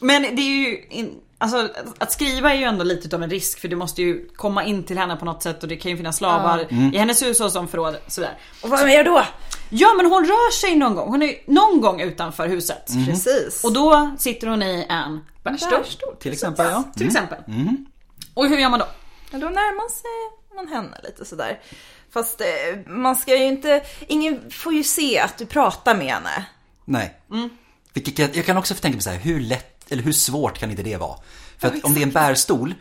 B: men det är ju, in, alltså att- att skriva är ju ändå lite utav en risk för du måste ju komma in till henne på något sätt och det kan ju finnas slavar
A: Mm.
B: i hennes hushåll som förråd sådär.
C: Och vad gör jag då?
B: Ja men hon rör sig någon gång, hon är ju någon gång utanför huset.
A: Mm.
C: Precis.
B: Och då sitter hon i en bärstol.
A: Till exempel, ja.
B: Till exempel.
A: Mm.
B: Och hur gör man då?
C: Ja, då närmar sig man henne lite sådär. Fast eh, man ska ju inte, ingen får ju se att du pratar med henne.
A: Nej.
B: Mm.
A: Vilket jag, jag kan också tänka mig så här, hur lätt eller hur svårt kan inte det vara? För att om det är en bärstol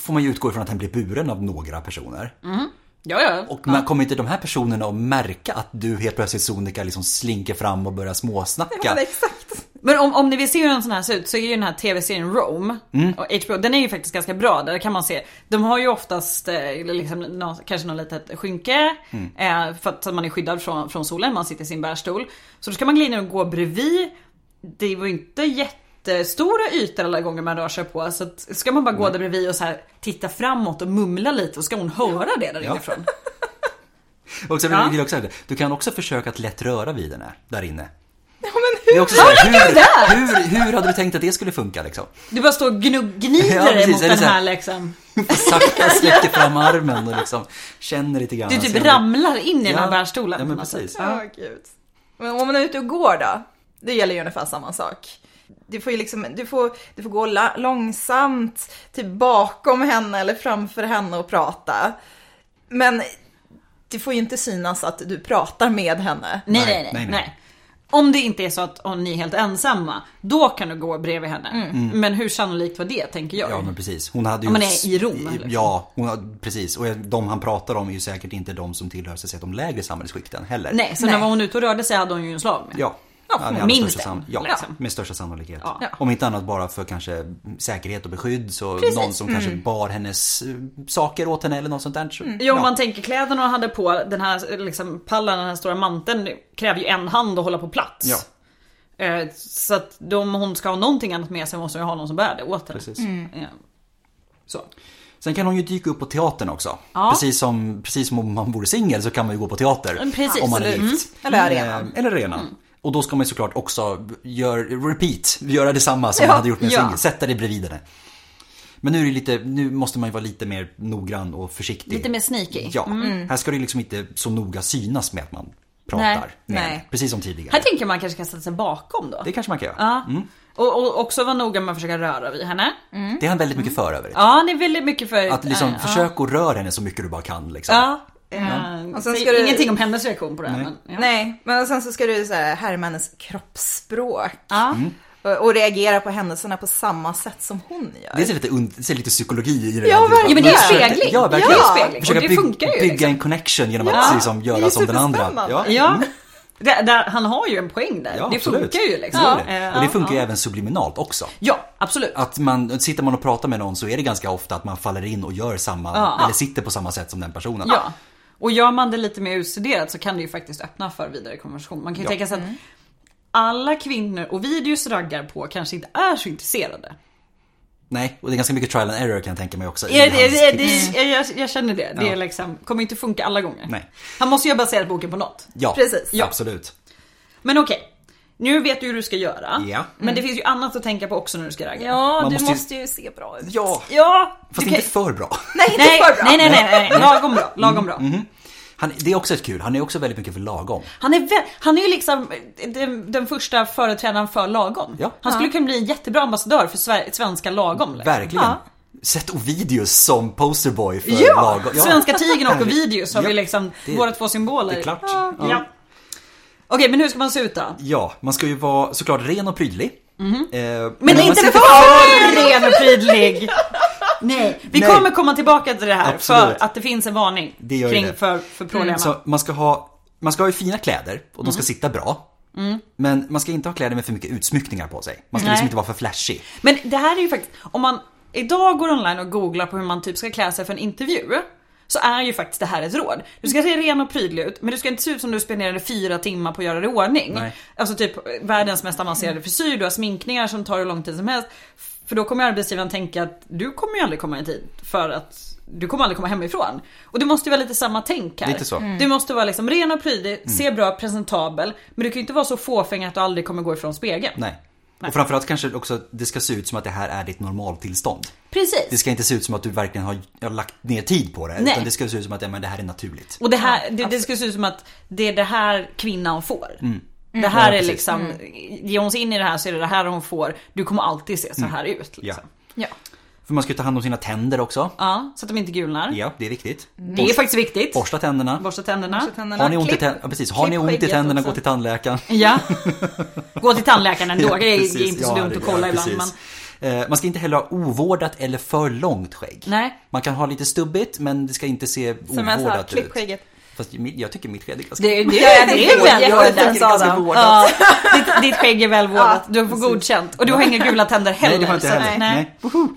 A: får man ju utgå ifrån att den blir buren av några personer.
B: Ja, Mm. ja.
A: Och man kommer inte de här personerna att märka att du helt plötsligt Sonika liksom slinker fram och börjar småsnacka?
C: exakt.
B: Men om, om ni vill se hur en sån här ser ut så är ju den här tv-serien Rome
A: Mm.
B: och HBO, den är ju faktiskt ganska bra. Där kan man se, de har ju oftast eh, liksom, nå- kanske något litet skynke
A: Mm.
B: eh, för att man är skyddad från, från solen, man sitter i sin bärstol. Så då ska man glida in och gå bredvid. Det var ju inte jätte jättestora ytor alla gånger man rör sig på. Så att, ska man bara
A: Mm.
B: gå där bredvid och så här, titta framåt och mumla lite och ska hon höra det där
A: Ja.
B: inifrån.
A: Och sen
B: Ja.
A: vill jag också säga det, du kan också försöka att lätt röra vid den här, där inne.
C: Ja, men
A: Det är
C: hur?
A: också så här, hur, hur, hur hade du tänkt att det skulle funka liksom?
B: Du bara står och gnugg- gnider
A: Ja,
B: dig
A: precis,
B: mot
A: eller
B: den
A: så här-
B: här liksom.
A: Sakta sträcker fram armen och liksom känner lite grann.
B: Du
A: och
B: typ
A: ser om det-
B: ramlar in i den här
A: Ja,
B: bärstolen.
A: Ja, men
B: på något
A: precis.
B: sätt.
C: Ja, gud. Men om man är ute och går då? Det gäller ju ungefär samma sak. Du får ju liksom, du får, du får gå la- långsamt, typ bakom henne eller framför henne och prata. Men det får ju inte synas att du pratar med henne.
B: Nej,
A: Nej,
B: nej, nej,
A: nej,
B: nej,
A: nej.
B: Om det inte är så att om ni är helt ensamma, då kan du gå bredvid henne. Men hur sannolikt var det, tänker jag.
A: Mm. Ja men precis. Hon hade ju...
B: Om man är i Rom, eller?
A: Ja, hon hade, precis. Och de han pratar om är ju säkert inte de som tillhör så att säga, de lägre samhällsskikten heller.
B: Nej, så
C: Nej.
B: när hon var ute och rörde sig hade hon ju en slag med.
A: Ja.
B: Ja,
A: med allra
B: minst
A: största
B: en,
A: ja,
B: liksom.
A: med största sannolikhet.
B: Ja.
A: Om inte annat bara för kanske säkerhet och beskydd. Så någon som kanske bar hennes eh, saker åt henne eller något sånt där. Så,
B: Mm. Jo, om
A: ja.
B: man tänker kläderna hon hade på, den här liksom, pallen, den här stora manteln kräver ju en hand att hålla på plats.
A: Ja.
B: Eh, Så att då om hon ska ha någonting annat med sig måste hon ju ha någon som bär det åt henne.
A: Precis.
B: Ja. Så.
A: Sen kan hon ju dyka upp på teatern också.
B: Ja.
A: Precis, som, precis som om man vore singel så kan man ju gå på teater.
B: Mm, precis.
A: Om man är
B: Mm.
A: gift.
C: Eller arenan.
A: Eh, Eller arenan. Och då ska man ju såklart också gör, repeat, göra detsamma som
C: Ja,
A: man hade gjort med en
B: ja.
A: singel. Sätta dig bredvid henne. Men nu, är det lite, nu måste man ju vara lite mer noggrann och försiktig.
B: Lite mer sneaky. Mm.
A: Ja, här ska det liksom inte så noga synas med att man pratar.
B: Nej,
A: med
C: nej.
A: henne. Precis som tidigare.
B: Här tänker man kanske kan ställa sig bakom då.
A: Det Mm. kanske man kan göra.
B: Ja. Och, och också vara noga med att försöka röra vid henne.
A: Det är han väldigt mycket för övrigt.
B: Mm. Ja, det är väldigt mycket för...
A: Att liksom,
B: ja.
A: försök att röra henne så mycket du bara kan liksom.
B: Ja. Mm.
C: Och sen ska du-
B: Ingenting om hennes reaktion på det här, men, ja.
C: Nej, men sen så ska du så här, härma hennes kroppsspråk. Mm.
B: Ja.
C: Och, och reagera på händelserna på samma sätt som hon gör.
A: Det är så lite, und- det är lite psykologi i det.
C: Ja,
A: där.
C: verkligen.
B: Ja men det är
A: Försöka-
B: spegling.
A: Ja,
B: det är
A: verkligen.
B: ju spegling.
A: Försöka
B: och det
A: byg-
B: funkar ju.
A: bygga
B: liksom.
A: en connection genom att
C: Ja,
A: liksom
C: det är
A: göra som den andra. Ja.
C: superspännande.
B: Ja. Det, där, han har ju en poäng där.
A: Ja,
B: det
A: absolut.
B: funkar ju liksom.
A: Det gör
B: Ja,
A: det.
B: eh,
A: Och det funkar ju
B: ja.
A: även subliminalt också.
B: Ja, absolut.
A: Att man, sitter man och pratar med någon så är det ganska ofta att man faller in och gör samma,
B: Ja.
A: eller sitter på samma sätt som den personen.
B: Ja. Och gör man det lite mer utstuderat så kan det ju faktiskt öppna för vidare konversation. Man kan ju
A: Ja.
B: tänka sig att alla kvinnor och videos raggar på kanske inte är så intresserade.
A: Nej, och det är ganska mycket trial and error kan jag tänka mig också. i
B: Jag, jag,
A: hans
B: jag,
A: tips.
B: jag, jag känner det. Det
A: Ja.
B: är liksom, kommer inte funka alla gånger.
A: Nej.
B: Han måste ju ha baserat boken på något.
A: Ja,
C: Precis.
A: Ja. absolut.
B: Men okej. Nu vet du hur du ska göra.
A: Ja. Mm.
B: Men det finns ju annat att tänka på också när du ska ragga.
C: Ja,
A: Man
C: du
A: måste
C: måste
A: ju-
C: ju... se bra ut.
A: Ja,
B: Ja,
A: fast
B: du kan-
A: inte för bra. Mm-hmm.
C: Nej, inte
B: Nej,
C: för bra.
B: nej, nej, nej, nej, lagom bra, lagom bra.
A: Han, det är också ett kul, han är också väldigt mycket för lagom.
B: Han är, vä- han är ju liksom den, den första företrädaren för lagom.
A: Ja.
B: Han skulle kunna bli en jättebra ambassadör för sve- svenska lagom. liksom.
A: Verkligen.
C: Ja.
A: Sett Ovidius som posterboy för
B: Ja!
A: lagom.
B: Svenska tigern och Ovidius har
A: Ja.
B: vi liksom
A: Det-
B: våra två symboler.
A: Det är klart.
B: Ja. Ja. Okej, men hur ska man se ut då?
A: Ja, man ska ju vara såklart ren och prydlig. Eh,
B: Mhm. Men
A: om man
B: inte
A: sitter-
B: för ren och prydlig! Nej, vi
A: Nej.
B: kommer komma tillbaka till det här
A: Absolut.
B: för att det finns en varning
A: Det gör ju
B: kring
A: det. Mm,
B: för, för problem.
A: Så man ska ha, man ska ha ju fina kläder och
B: Mhm.
A: de ska sitta bra. Men man ska inte ha kläder med för mycket utsmyckningar på sig. Man ska
B: Mm. Nej.
A: liksom inte vara för flashig.
B: Men det här är ju faktiskt, om man idag går online och googlar på hur man typ ska klä sig för en intervju. Så är ju faktiskt det här ett råd. Du ska se ren och prydlig ut men du ska inte se ut som du spenderade fyra timmar på att göra det i ordning.
A: Nej.
B: Alltså typ eh, världens mest avancerade frisyr, du har sminkningar som tar hur lång tid som helst. För då kommer arbetsgivaren tänka att du kommer ju aldrig komma i tid för att du kommer aldrig komma hemifrån. Och det måste ju vara lite samma tänk här.
A: Lite så. Mm.
B: Du måste vara liksom ren och prydlig, se bra, presentabel. Men du kan ju inte vara så fåfäng att du aldrig kommer gå ifrån spegeln.
A: Nej. Och framförallt kanske också att det ska se ut som att det här är ditt normaltillstånd.
B: Precis.
A: Det ska inte se ut som att du verkligen har, har lagt ner tid på det.
B: Nej.
A: Utan det ska se ut som att ja, men det här är naturligt.
B: Och det här, det, det skulle se ut som att det är det här kvinnan får. Det här
A: Mm. Ja,
B: är
A: precis.
B: liksom, ger hon sig in i det här så är det det här hon får. Du kommer alltid se så här ut. Liksom.
A: Mm. Ja.
C: Ja.
A: För man ska ju ta hand om sina tänder också.
B: Ja, så att de inte gulnar.
A: Ja, det är viktigt.
B: Det är faktiskt viktigt.
A: Borsta tänderna.
B: Borsta tänderna.
A: Har ni ont i, tän- ja, precis. Har ni
C: klipp
A: ont i
C: skägget
A: tänderna,
C: också.
A: gå till tandläkaren.
B: Ja. Gå till tandläkaren ändå.
A: Ja,
B: det är
A: precis.
B: inte
A: Ja,
B: så dumt
A: det-
B: att kolla
A: ja,
B: ibland. Men,
A: precis. Eh, Man ska inte heller ha ovårdat eller för långt skägg.
B: Nej.
A: Man kan ha lite stubbigt men det ska inte se
C: Som jag sa,
A: ovårdat
C: klipp
A: ut.
C: skägget.
A: Fast mi- jag tycker mitt skägg är ganska...
B: det, det, det, det är väl
C: Jag tycker det
B: vårdat.
C: är ganska vårdat.
B: Ja, ditt, ditt skägg är väl vårdat. Du får godkänt. Och du har inga gula tänder heller.
A: Nej, det har jag inte
B: så att-
A: heller.
B: nej.
A: Nej. Woho!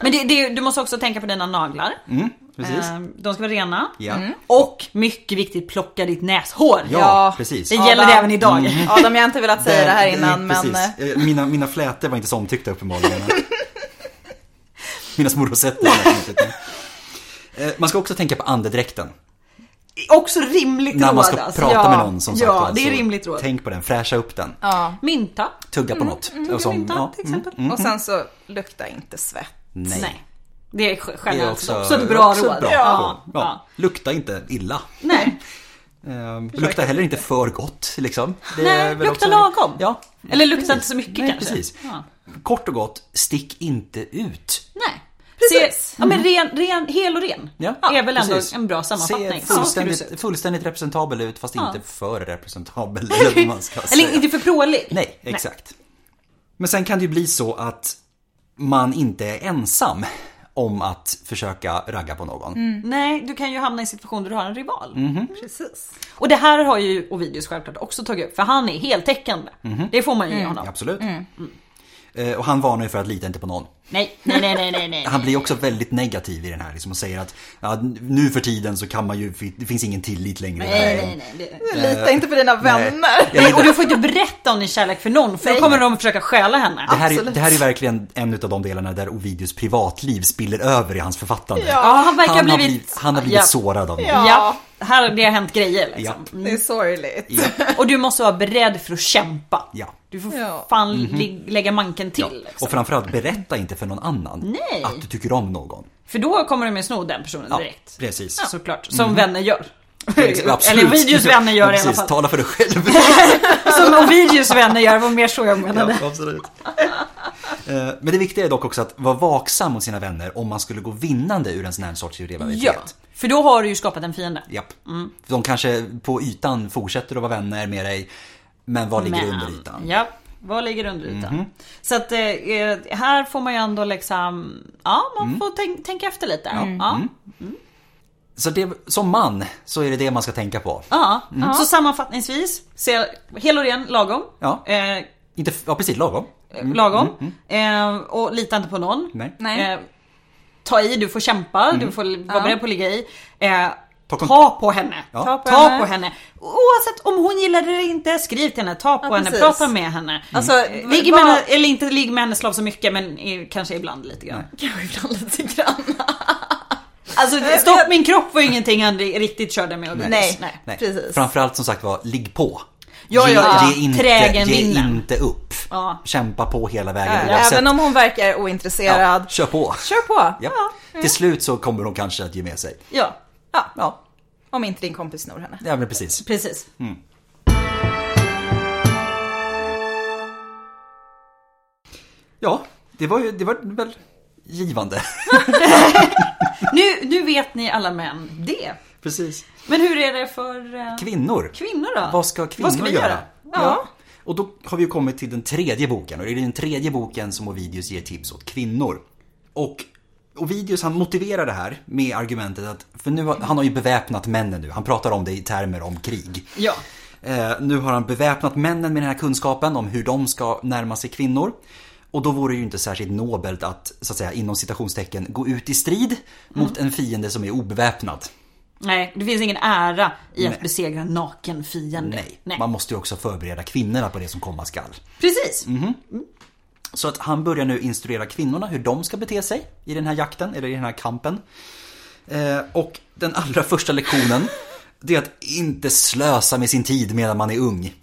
B: Men det, det, du måste också tänka på dina naglar.
A: Mm, precis.
B: Eh, mm. De ska vara rena.
A: Ja.
B: Och mycket viktigt, plocka ditt näshår.
A: Ja,
C: Ja.
A: precis.
B: Det gäller
C: Adam.
B: även idag.
C: Adam, jag har inte velat säga det här
A: Eh,
C: innan,
A: Mm. precis.
C: men... eh,
A: Eh, Mina, mina flätor var inte så omtyckta uppenbarligen. mina små rosetter. var inte omtyckta. Eh, Man ska också tänka på andedräkten.
B: Också rimligt
A: När
B: råd
A: man ska
B: alltså.
A: prata
B: ja.
A: med någon som sagt
B: Ja,
A: var,
B: det
A: så
B: är rimligt råd.
A: Tänk på den, fräscha upp den.
C: Ja.
B: Mynta.
A: Tugga
B: Mm.
A: på något. Och som-
B: mynta,
A: ja, mm,
B: till exempel.
C: Och sen så lukta inte svett.
A: Nej.
B: Nej. Det är sj-
A: Det
B: generellt
A: är
B: också,
A: också,
B: ett bra
A: också
B: råd.
A: ett bra
B: ja.
A: råd.
B: Ja.
A: Ja. Lukta inte illa.
B: Nej.
A: Ehm, lukta heller inte för gott liksom. Det är
B: Nej,
A: väl
B: lukta
A: också-
B: lagom.
A: Ja.
B: Eller lukta inte så mycket
A: Nej,
B: kanske.
A: precis.
B: Ja.
A: Kort och gott, stick inte ut.
B: Nej.
C: Precis.
B: Se, ja, men ren, ren, hel och ren är väl
A: Mm. precis.
B: ändå en bra sammanfattning.
A: Se
B: Så ska du
A: fullständigt,
B: se ut.
A: fullständigt representabel ut fast
B: Ja.
A: inte för representabel. Eller vad man ska säga.
B: Eller inte för prålig.
A: Nej, exakt. Men sen kan det ju bli så att man inte är ensam om att försöka ragga på någon.
B: Nej, du kan ju hamna i en situation där du har en rival.
C: Mm. Precis.
B: Och det här har ju Ovidius självklart också tagit upp för han är heltäckande.
A: Mhm.
B: Det får man ju
A: Mm.
B: ge honom.
A: Absolut.
B: Mm.
A: Eh, Och han varnar ju för att lita inte på någon.
B: Nej, nej, nej, nej, nej, nej.
A: Han blir också väldigt negativ i den här liksom, och säger att ja, nu för tiden så kan man ju, det finns ingen tillit längre.
B: nej, nej, nej, nej.
A: Eh,
C: Lita inte på dina vänner.
A: Jag
B: Nej, och du får inte berätta om din kärlek för någon för då
C: Nej.
B: kommer de att försöka stjäla henne.
A: Det här, är,
C: Absolut.
A: det här är verkligen en av de delarna där Ovidius privatliv spiller över i hans författande.
C: Ja.
B: Ja, han verkar
A: han,
B: ha
A: har
B: blivit...
A: blivit, han har blivit
B: ja.
A: sårad av
C: Ja.
A: det.
B: Ja, här har det hänt grejer liksom.
A: Ja.
C: Det är sorgligt.
B: Och du måste vara beredd för att kämpa.
A: Ja. Mhm.
B: Du får
C: Ja.
B: fan lig- lägga manken till. Liksom.
A: Och framförallt, berätta inte för någon annan
B: Nej.
A: att du tycker om någon.
B: För då kommer de ju sno den personen
A: Ja,
B: direkt.
A: precis. Mhm.
B: Såklart, som vänner gör.
A: Absolut.
B: Eller Ovidius vänner gör
A: Ja,
B: i alla
A: precis.
B: fall.
A: Tala för dig själv.
B: Som Ovidius vänner gör, var mer så jag menade.
A: Ja, absolut. Eh, Men det viktiga är dock också att vara vaksam mot sina vänner om man skulle gå vinnande ur en sån här sorts rivalitet.
B: Ja, för då har du ju skapat en fiende.
A: Japp. De kanske på ytan fortsätter att vara vänner med dig, men vad ligger under ytan? Mhm.
B: Ja, vad ligger under ytan? Så att eh, här får man ju ändå liksom, ja man
A: Mm.
B: får tänk, tänka efter lite. Ja.
A: Så det, som man så är det det man ska tänka på.
B: Ja. Så sammanfattningsvis, se, hel och ren, lagom.
A: Ja.
B: Eh,
A: Inte, f- ja, precis lagom.
B: lagom. Eh, och lita inte på någon.
A: Mm. Nej.
C: Nej.
B: Eh, ta i, du får kämpa, du får li- vara beredd på att ligga i. Eh,
A: Ta
B: Ta,
A: kon-
B: på henne.
A: Ja.
B: Ta, på,
C: Ta
B: henne.
C: på
B: Oavsett om hon gillar det eller inte, skriv till henne, ta på
C: Ja,
B: henne,
C: precis.
B: prata med henne.
C: Alltså,
B: Eh, Ligg med
C: bara-
B: henne, eller inte ligg med henne slav så mycket men eh, kanske ibland lite grann.
C: Kanske ibland lite grann.
B: Alltså stopp min kropp var ju ingenting han ri- riktigt körde med. Augustus.
C: Nej.
B: Nej.
A: Nej.
C: Precis.
A: Framförallt som sagt var, ligg på.
B: Ja, ja, ja.
A: Ge, ge, inte,
B: Trägen
A: ge
B: vinner.
A: inte upp.
B: Ja.
A: Kämpa på hela vägen oavsett.
C: Även om hon verkar ointresserad.
A: ja, kör på.
C: Kör på.
A: Ja. Till slut så kommer de kanske att ge med sig.
B: Ja,
C: Ja.
A: Ja,
C: Om inte din kompis snor henne.
A: ja men precis.
B: precis.
A: Ja, det var ju det var väl givande.
B: Nu, nu vet ni alla män det.
A: Precis.
B: Men hur är det för eh,
A: Kvinnor.
B: kvinnor då?
A: Vad ska kvinnor
B: vi
A: göra?
B: Ja.
A: Och då har vi ju kommit till den tredje boken och det är den tredje boken som Ovidius ger tips åt kvinnor. Och Ovidius han motiverar det här med argumentet att, för nu har, han har ju beväpnat männen nu, han pratar om det i termer om krig.
B: Ja.
A: Eh, nu har han beväpnat männen med den här kunskapen om hur de ska närma sig kvinnor. Och då vore det ju inte särskilt nobelt att, så att säga, inom citationstecken, gå ut i strid mot en fiende som är obeväpnad.
B: Nej, det finns ingen ära i att
A: Nej.
B: besegra en naken fiende.
A: Nej. man måste ju också förbereda kvinnorna på det som komma skall.
B: Precis.
A: Mhm. Så att han börjar nu instruera kvinnorna hur de ska bete sig i den här jakten, eller i den här kampen. Eh, och den allra första lektionen, det är att inte slösa med sin tid medan man är ung.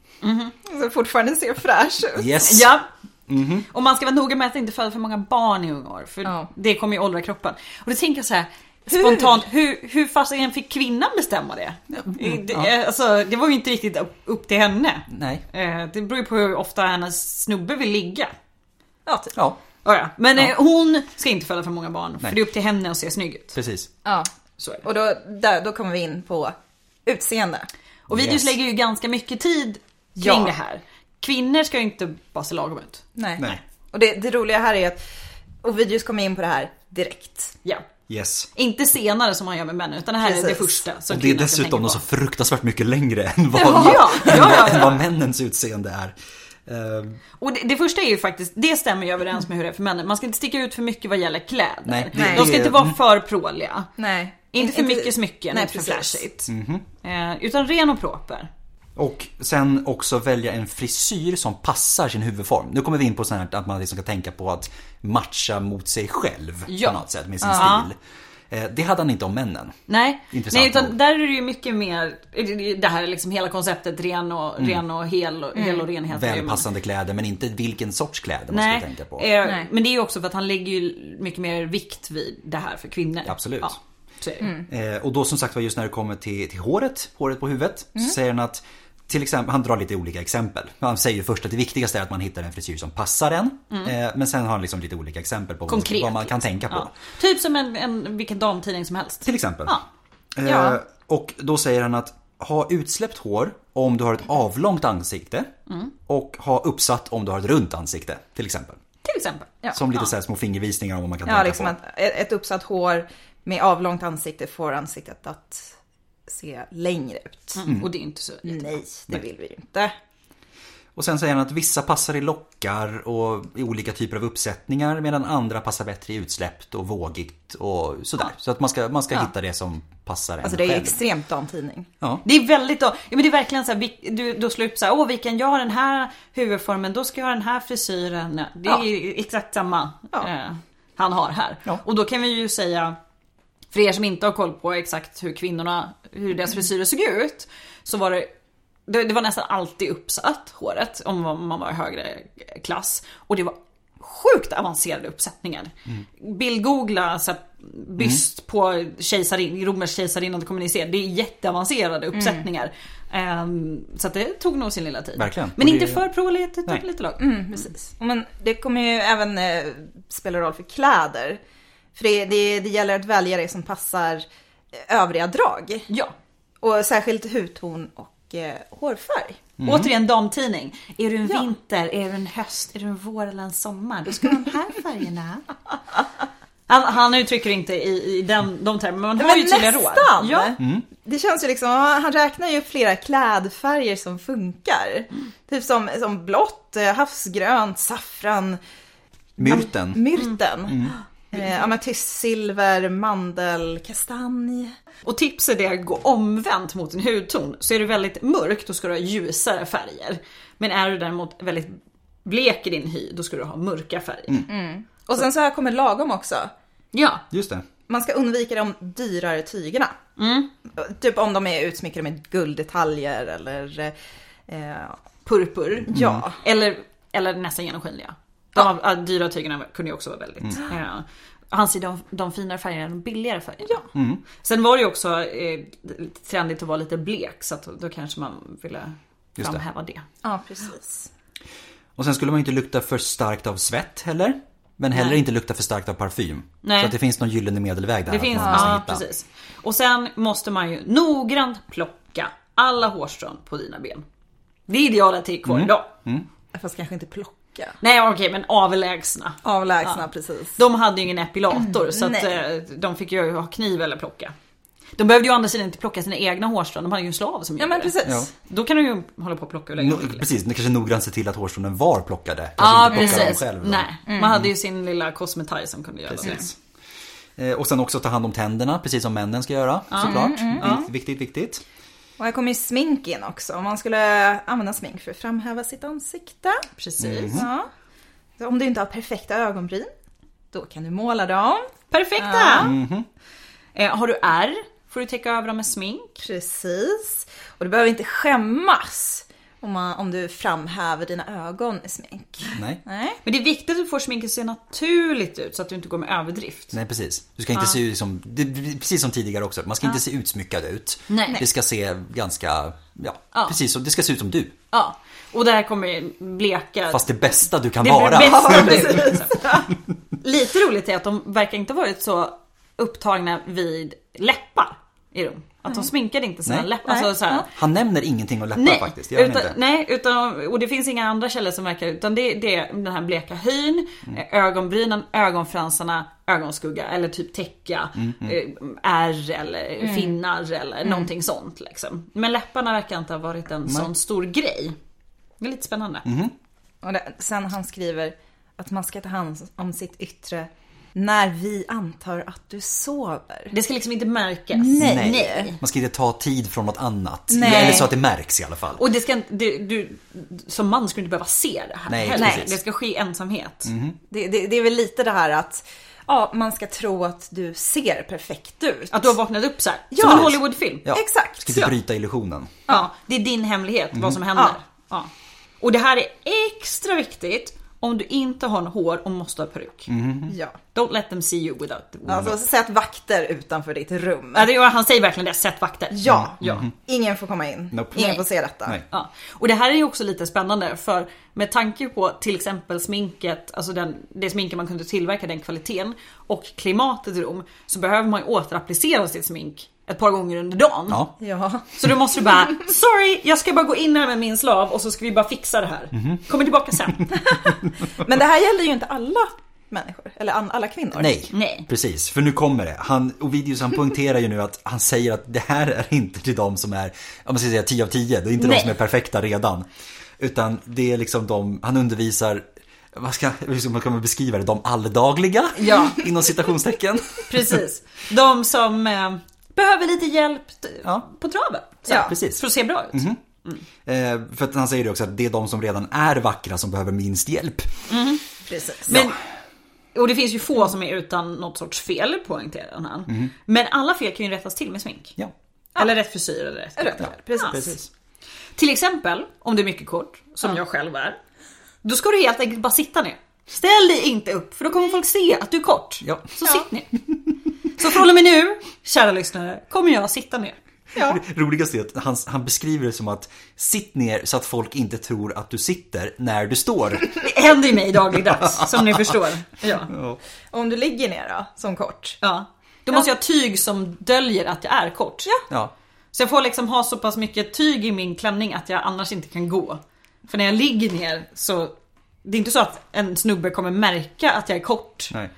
C: Så fortfarande ser fräsch ut.
A: Yes!
B: Ja.
A: Mhm.
B: Och man ska vara noga med att inte föda för många barn i unga år. För
C: Ja.
B: det kommer ju åldra kroppen. Och då tänker jag så här. Spontant, hur, hur fasiken fick kvinnan bestämma det?
A: Mm,
B: det, alltså, det var ju inte riktigt upp- upp till henne.
A: Nej.
B: Eh, Det beror ju på hur ofta hennes snubbe vill ligga.
C: Ja, typ.
A: Ja,
B: Ja, ja. Men eh, hon ska inte föda för många barn,
A: Nej.
B: för det är upp till henne att se snygg ut.
A: precis.
C: ja.
B: Så är det.
C: Och då, där, då kommer vi in på utseende.
B: Och Videos
A: Yes.
B: lägger ju ganska mycket tid kring
C: Ja.
B: det här. Kvinnor ska ju inte bara se lagom ut.
C: Nej.
A: Nej.
C: Och det, det roliga här är att Ovidius kommer in på det här direkt.
B: Ja.
A: Yes.
B: Inte senare som man gör med männen, utan det här är det
C: Precis.
B: första som
A: Och det är
B: kvinnan ska tänka
A: dessutom
B: på.
A: så fruktansvärt mycket längre än vad,
B: Ja, ja,
A: än vad,
B: ja, ja.
A: Än vad männens utseende är. Eh,
B: Och det, det första är ju faktiskt, det stämmer ju överens med hur det är för männen. Man ska inte sticka ut för mycket vad gäller kläder.
A: Nej,
C: det-
B: De ska
A: det- Mm.
B: inte vara för pråliga.
C: Nej.
B: Inte för mycket smycken,
C: Nej,
B: inte för
C: precis.
B: flashigt.
A: Mhm.
B: Eh, utan ren och proper.
A: Och sen också välja en frisyr som passar sin huvudform. Nu kommer vi in på sånt här att man liksom ska tänka på att matcha mot sig själv
B: Ja.
A: på något sätt med sin
B: Ja.
A: stil. Eh, Det hade han inte om männen.
B: Nej,
A: Intressant
B: Nej utan
A: nog.
B: där är det ju mycket mer, det här är liksom hela konceptet ren och,
A: Mm.
B: ren och hel, och, hel och renhet. är ju-
A: Välpassande kläder men inte vilken sorts kläder man
B: Nej,
A: ska tänka på.
B: eh,
C: Nej.
B: men det är ju också för att han lägger ju mycket mer vikt vid det här för kvinnor.
A: Absolut.
B: Ja, så är det.
C: Mm.
B: ju.
A: Eh, och då som sagt var just när det kommer till, till håret, håret på huvudet,
B: Mm.
A: så säger han att till exempel, han drar lite olika exempel. Han säger ju först att det viktigaste är att man hittar en frisyr som passar en. Eh, men sen har han liksom lite olika exempel på vad-
B: Mm. Konkret.
A: vad man kan
B: liksom.
A: tänka på.
B: Ja. Typ som en, en, vilken damtidning som helst.
A: Till exempel.
B: Ja.
A: Eh,
C: Ja.
A: Och då säger han att ha utsläppt hår om du har ett avlångt ansikte
C: Mm.
A: och ha uppsatt om du har ett runt ansikte till exempel.
B: Till exempel.
C: Ja.
A: Som lite så här små fingervisningar om vad man kan
C: Ja,
A: tänka
C: liksom
A: på.
C: att ett ett uppsatt hår med avlångt ansikte får ansiktet att se längre ut.
B: Mm.
A: Mm.
B: Och det är ju inte så
C: Nej, det vill vi ju inte.
A: Och sen säger han att vissa passar i lockar och i olika typer av uppsättningar medan andra passar bättre i utsläppt och vågigt och sådär. Så att man ska, man ska hitta det som passar en
C: Alltså det är ju
A: själv.
C: extremt damtidning.
A: ja.
B: Det är väldigt då, ja, men det är verkligen så här, vi- du, då slår upp så här, åh vilken, jag har den här huvudformen, då ska jag ha den här frisyren. Det är
C: Ja.
B: ju exakt samma
C: Ja.
B: eh, han har här.
A: Ja.
B: Och då kan vi ju säga, för er som inte har koll på exakt hur kvinnorna, hur deras frisyrer såg ut, så var det det, det var nästan alltid uppsatt håret om man- man var i högre klass. Och det var sjukt avancerade uppsättningar.
A: Mm.
B: Bildgoogla så här, byst på kejsarin, romersk kejsarinna du kommer ni se. Det är jätteavancerade
A: Mm.
B: uppsättningar. Ehm, så att det tog nog sin lilla tid.
A: Verkligen.
B: Men
A: Och
B: inte
A: det-
B: för pråligt utan
A: Nej.
B: lite lagom.
C: Mm, precis. Men det kommer ju även eh, spela roll för kläder. För det, det, det gäller att välja det som passar eh, övriga drag.
B: Ja.
C: Och särskilt hudton och eh, hårfärg.
B: Återigen damtidning. Är du en
C: Ja.
B: vinter, är du en höst, är du en vår eller en sommar? Då ska du ha de här färgerna. Han, han uttrycker inte i, i den, de termerna, men han har ju tydliga råd.
C: nästan!
B: Ja.
C: Det känns ju liksom, han räknar ju flera klädfärger som funkar. Typ som, som blått, eh, havsgrönt, saffran,
A: Myrten.
C: myrten. Eh, Ametystsilver, mandel, kastanj.
B: Och tipset är att gå omvänt mot en hudton. Så är du väldigt mörk då ska du ha ljusare färger. Men är du däremot väldigt blek i din hy då ska du ha mörka färger.
C: Och sen så här kommer lagom också.
B: Ja,
A: Just det.
C: Man ska undvika de dyrare tygerna. Typ om de är utsmyckade med gulddetaljer eller eh,
B: purpur.
C: ja.
B: Eller, eller nästan genomskinliga. De av- av dyra tygerna kunde ju också vara väldigt. Ja. Han ser de, de finare färgerna, de billigare färgerna.
A: Mm.
B: Sen var det ju också eh, lite trendigt att vara lite blek så att då kanske man ville
A: Just det.
B: framhäva det.
C: Ja, precis.
A: Och sen skulle man ju inte lukta för starkt av svett heller. Men heller inte lukta för starkt av parfym.
B: Nej.
A: Så att det finns någon gyllene medelväg där.
B: Det
A: att
B: finns,
A: man måste
B: ja
A: hitta.
B: precis. Och sen måste man ju noggrant plocka alla hårstrån på dina ben. Det är idealet till
A: Mm.
B: kvar idag.
C: Fast kanske inte plocka.
B: Nej okej men avlägsna.
C: Avlägsna, precis.
B: De hade ju ingen epilator så att
C: Mm, Nej.
B: eh, de fick ju ha kniv eller plocka. De behövde ju å andra sidan inte plocka sina egna hårstrån, de hade ju en slav som
C: Ja, men precis.
A: Ja.
B: Då kan de ju hålla på och plocka hur länge
A: No,
B: de ville.
A: precis, ni kanske noggrant se till att hårstrån var plockade. Kanske
B: Ja
A: inte plocka dem
B: precis.
A: själv.
B: Nej, man
C: Mm.
B: hade ju sin lilla kosmetaj som kunde göra
A: Precis. Eh, Och sen också ta hand om tänderna, precis som männen ska göra såklart.
B: Mm,
A: Vikt- Viktigt, viktigt.
C: Och här kommer ju smink in också. Om man skulle använda smink för att framhäva sitt ansikte.
B: det. Precis.
C: Ja. Så om du inte har perfekta ögonbryn, då kan du måla dem.
B: Perfekta!
A: Mhm.
B: Eh, har du ärr får du täcka över dem med smink.
C: Precis. Och du behöver inte skämmas om, man, om du framhäver dina ögon i smink.
A: Nej.
C: Nej.
B: Men det är viktigt att du får sminket att se naturligt ut så att du inte går med överdrift.
A: Nej precis. Du ska inte se ut som, det- det- precis som tidigare också, man ska inte se utsmyckad ut.
B: Nej.
A: Det ska se ganska, ja,
B: Ja.
A: precis som, det ska se ut som du.
B: Ja. Och där kommer ju bleka...
A: Fast det bästa du kan
B: det
A: vara.
B: bästa du. Lite roligt är att de verkar inte ha varit så upptagna vid läppar i dem. Att de sminkade inte sina
A: Nej.
B: läppar. Alltså,
C: Nej.
B: så här,
C: Ja.
A: Han nämner ingenting om läppar
B: Nej,
A: faktiskt, det gör han
B: utan,
A: inte.
B: nej utan, och det finns inga andra källor som verkar utan det, det är den här bleka hyn,
A: Mm.
B: eh, ögonbrynen, ögonfransarna, ögonskugga eller typ täcka,
A: Mm-hmm.
B: eh, ärr eller
C: Mm.
B: finnar eller någonting sånt.
A: Mm-hmm.
B: Liksom. Men läpparna verkar inte ha varit en sån stor grej. Det är lite spännande.
C: Och det, sen han skriver att man ska ta hand om sitt yttre när vi antar att du sover.
B: Det ska liksom inte märkas.
C: Nej.
A: Man ska inte ta tid från något annat.
C: Nej.
A: Eller så att det märks i alla fall.
B: Och det ska inte, du, du, som man ska du inte behöva se det här
A: Nej,
B: heller.
A: precis.
B: Det ska ske i ensamhet.
C: Det, det, det är väl lite det här att ja, man ska tro att du ser perfekt ut.
B: Att du har vaknat upp så här.
C: Ja.
B: Som en Hollywoodfilm.
A: Ja,
C: exakt,
A: Ska inte
C: ja.
A: bryta illusionen.
B: Ja, det är din hemlighet, vad som händer. Ja.
C: Ja.
B: Och det här är extra viktigt om du inte har en hår och måste ha peruk.
A: Mm.
C: Ja.
B: Don't let them see you without the
C: Alltså sätt vakter utanför ditt rum.
B: Ja, det gör- Han säger verkligen det, sätt vakter.
C: Ja,
B: Ja.
C: ingen får komma in.
A: Mm. Nope.
C: Ingen
B: Nej.
C: får se detta.
A: Nej.
B: Ja. Och det här är ju också lite spännande för med tanke på till exempel sminket, alltså den, det sminket man kunde tillverka, den kvaliteten och klimatet i Rom så behöver man ju återapplicera sitt smink ett par gånger under dagen.
A: Ja.
C: Ja.
B: Så då måste du bara, sorry jag ska bara gå in här med min slav och så ska vi bara fixa det här.
A: Mhm.
B: Kommer tillbaka sen.
C: Men det här gäller ju inte alla människor, eller an- alla kvinnor.
A: Nej.
B: Nej.
A: precis. För nu kommer det. Han, Ovidius han poängterar ju nu att han säger att det här är inte till de som är, om man ska säga 10 av 10, det är inte
B: Nej.
A: de som är perfekta redan. Utan det är liksom de, han undervisar, vad ska, hur ska man kunna beskriva det, de alldagliga?
B: Ja.
A: Inom citationstecken.
B: Precis. De som eh, behöver lite hjälp t-
A: Ja.
B: på traven. Så
C: Ja,
B: här,
A: precis. Mhm.
B: För att se bra ut.
A: Eh, för att han säger ju också att det är de som redan är vackra som behöver minst hjälp.
C: Precis.
B: Men, och det finns ju få som är utan något sorts fel poängterar han. Men alla fel kan ju rättas till med smink.
A: Mhm. Ja,
B: Eller rätt frisyr eller rätt,
C: Rätt kläder, precis.
A: precis.
B: Till exempel, om du är mycket kort, som jag själv är. Då ska du helt enkelt bara sitta ner. Ställ dig inte upp för då kommer folk se att du är kort.
A: Ja.
B: Så sitt ner. Så från och med nu, kära lyssnare, kommer jag sitta ner.
C: Ja.
A: Roligast är att han, han beskriver det som att sitt ner så att folk inte tror att du sitter när du står.
B: Det händer ju mig dagligdags, som ni förstår. Ja.
C: Och om du ligger ner då, som kort.
B: Ja. Då måste jag ha tyg som döljer att jag är kort.
A: Ja.
B: Så jag får liksom ha så pass mycket tyg i min klänning att jag annars inte kan gå. För när jag ligger ner så det är inte så att en snubbe kommer märka att jag är kort.
A: Nej.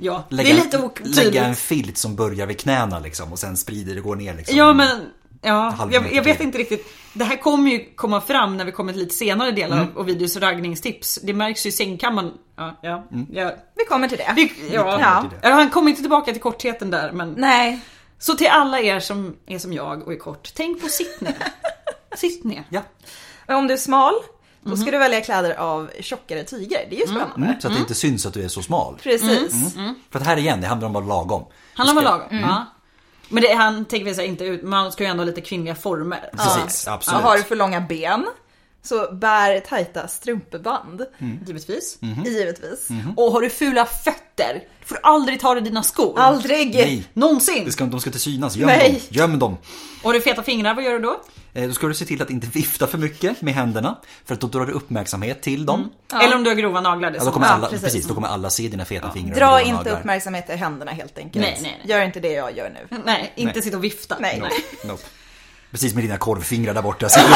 B: Ja,
A: Lägga,
B: det är lite
A: lägga en
B: otydligt.
A: filt som börjar vid knäna liksom och sen sprider det och går ner liksom.
B: Ja men, ja,
A: halv
B: jag,
A: meter
B: jag vet
A: till.
B: inte riktigt. Det här kommer ju komma fram när vi kommer till lite senare delar
A: Mm.
B: av Ovidius raggningstips. Det märks ju i sängkammaren. Ja, ja, ja.
C: Vi kommer till det.
B: Vi- ja.
A: kommer till Mm. det.
B: ja. Han kommer inte tillbaka till kortheten där men
C: Nej,
B: Så till alla er som är som jag och är kort, tänk på sitt ner. sitt ner.
A: Ja,
C: men om du är smal, då ska du välja kläder av tjockare tyger. Det är ju spännande.
A: Mhm. mm, så att det inte syns att du är så smal.
C: Precis.
A: För att här igen, det handlar om att vara lagom.
B: Handlar om att
A: Du ska-
B: lagom. Ja. Men det, han tänker väl så här, inte ut, man ska ju ändå ha lite kvinnliga former.
A: Precis,
C: Ja,
A: absolut.
C: har du för långa ben, så bär tajta strumpeband.
A: Mm.
B: Givetvis.
A: Mhm.
C: Givetvis.
B: Och har du fula fötter, då får du aldrig ta dig dina skor.
C: Aldrig!
A: Nej,
B: Någonsin!
A: det ska, de ska inte synas. Göm
C: Nej.
A: dem. Göm dem.
B: Och har du feta fingrar, vad gör du då?
A: Eh, Då ska du se till att inte vifta för mycket med händerna för att då drar du uppmärksamhet till dem.
B: Eller om du har grova naglar.
A: Ja,
B: dessutom.
A: då, kommer
C: Ja,
A: alla,
C: precis.
A: precis. då kommer alla se dina feta fingrar. och
C: Dra
A: dina
C: inte
A: naglar.
C: uppmärksamhet i händerna helt enkelt.
B: Nej, nej, nej.
C: Gör inte det jag gör nu.
B: Nej, inte
A: Nej.
B: sitta och vifta.
C: Nej.
A: Nope, nope. Precis med dina korvfingrar där borta. Så jag-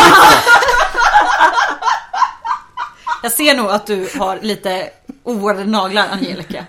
B: Jag ser nog att du har lite oordnade naglar, Angelica.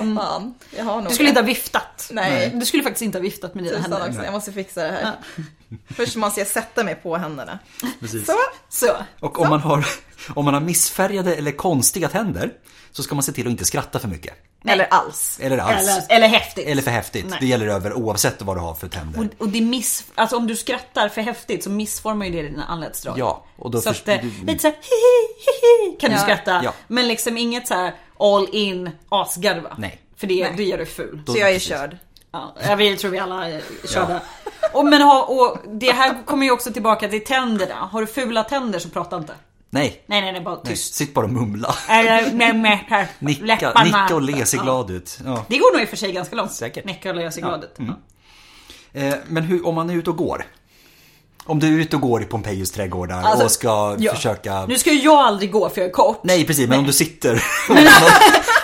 C: Mm. Fan, jag har nog
B: Du skulle inte
C: det.
B: ha viftat.
C: Nej.
B: Du skulle faktiskt inte ha viftat med dina
C: Tusan
B: händer.
C: också, jag måste fixa det här. Först måste jag sätta mig på händerna.
A: Precis.
C: Så,
B: Så.
A: Och om man, har, om man har missfärgade eller konstiga tänder så ska man se till att inte skratta för mycket.
C: eller alls.
A: Eller alls. Alltså. Eller,
B: Eller, eller häftigt.
A: för häftigt.
B: Nej.
A: Det gäller över oavsett vad du har för tänder.
B: Och, och det miss, alltså om du skrattar för häftigt så missformar ju det dina anletsdrag.
A: Ja, och då
B: så att,
A: först-
B: eh, lite såhär hihi, hihi kan du
C: Ja.
B: skratta.
A: Ja.
B: Men liksom inget så här all in asgarva.
A: Nej.
B: För det,
C: Nej.
B: då gör du ful.
A: Då-
C: Så jag är
A: precis.
C: körd.
B: Ja, jag vill, tror vi alla eh, körda. Och, men ha, och det här kommer ju också tillbaka till tänderna. Har du fula tänder så prata inte.
A: Nej.
B: Nej, nej, nej, bara
A: Nej.
B: tyst.
A: Sitt bara och mumla.
B: Eller med, med, här,
A: Nicka,
B: Äh, läpparna.
A: nicka och le, se
B: Ja.
A: glad ut. Ja.
B: Det går nog i och för sig ganska långt.
A: Säkert. Mm.
B: Nicka och le sig glad ut. Ja.
A: Eh, Men hur, om man är ute och går? Om du är ute och går i Pompejus trädgårdar
B: Alltså,
A: och ska
B: ja.
A: försöka...
B: Nu ska ju jag aldrig gå för jag är kort.
A: Nej precis, men om du sitter...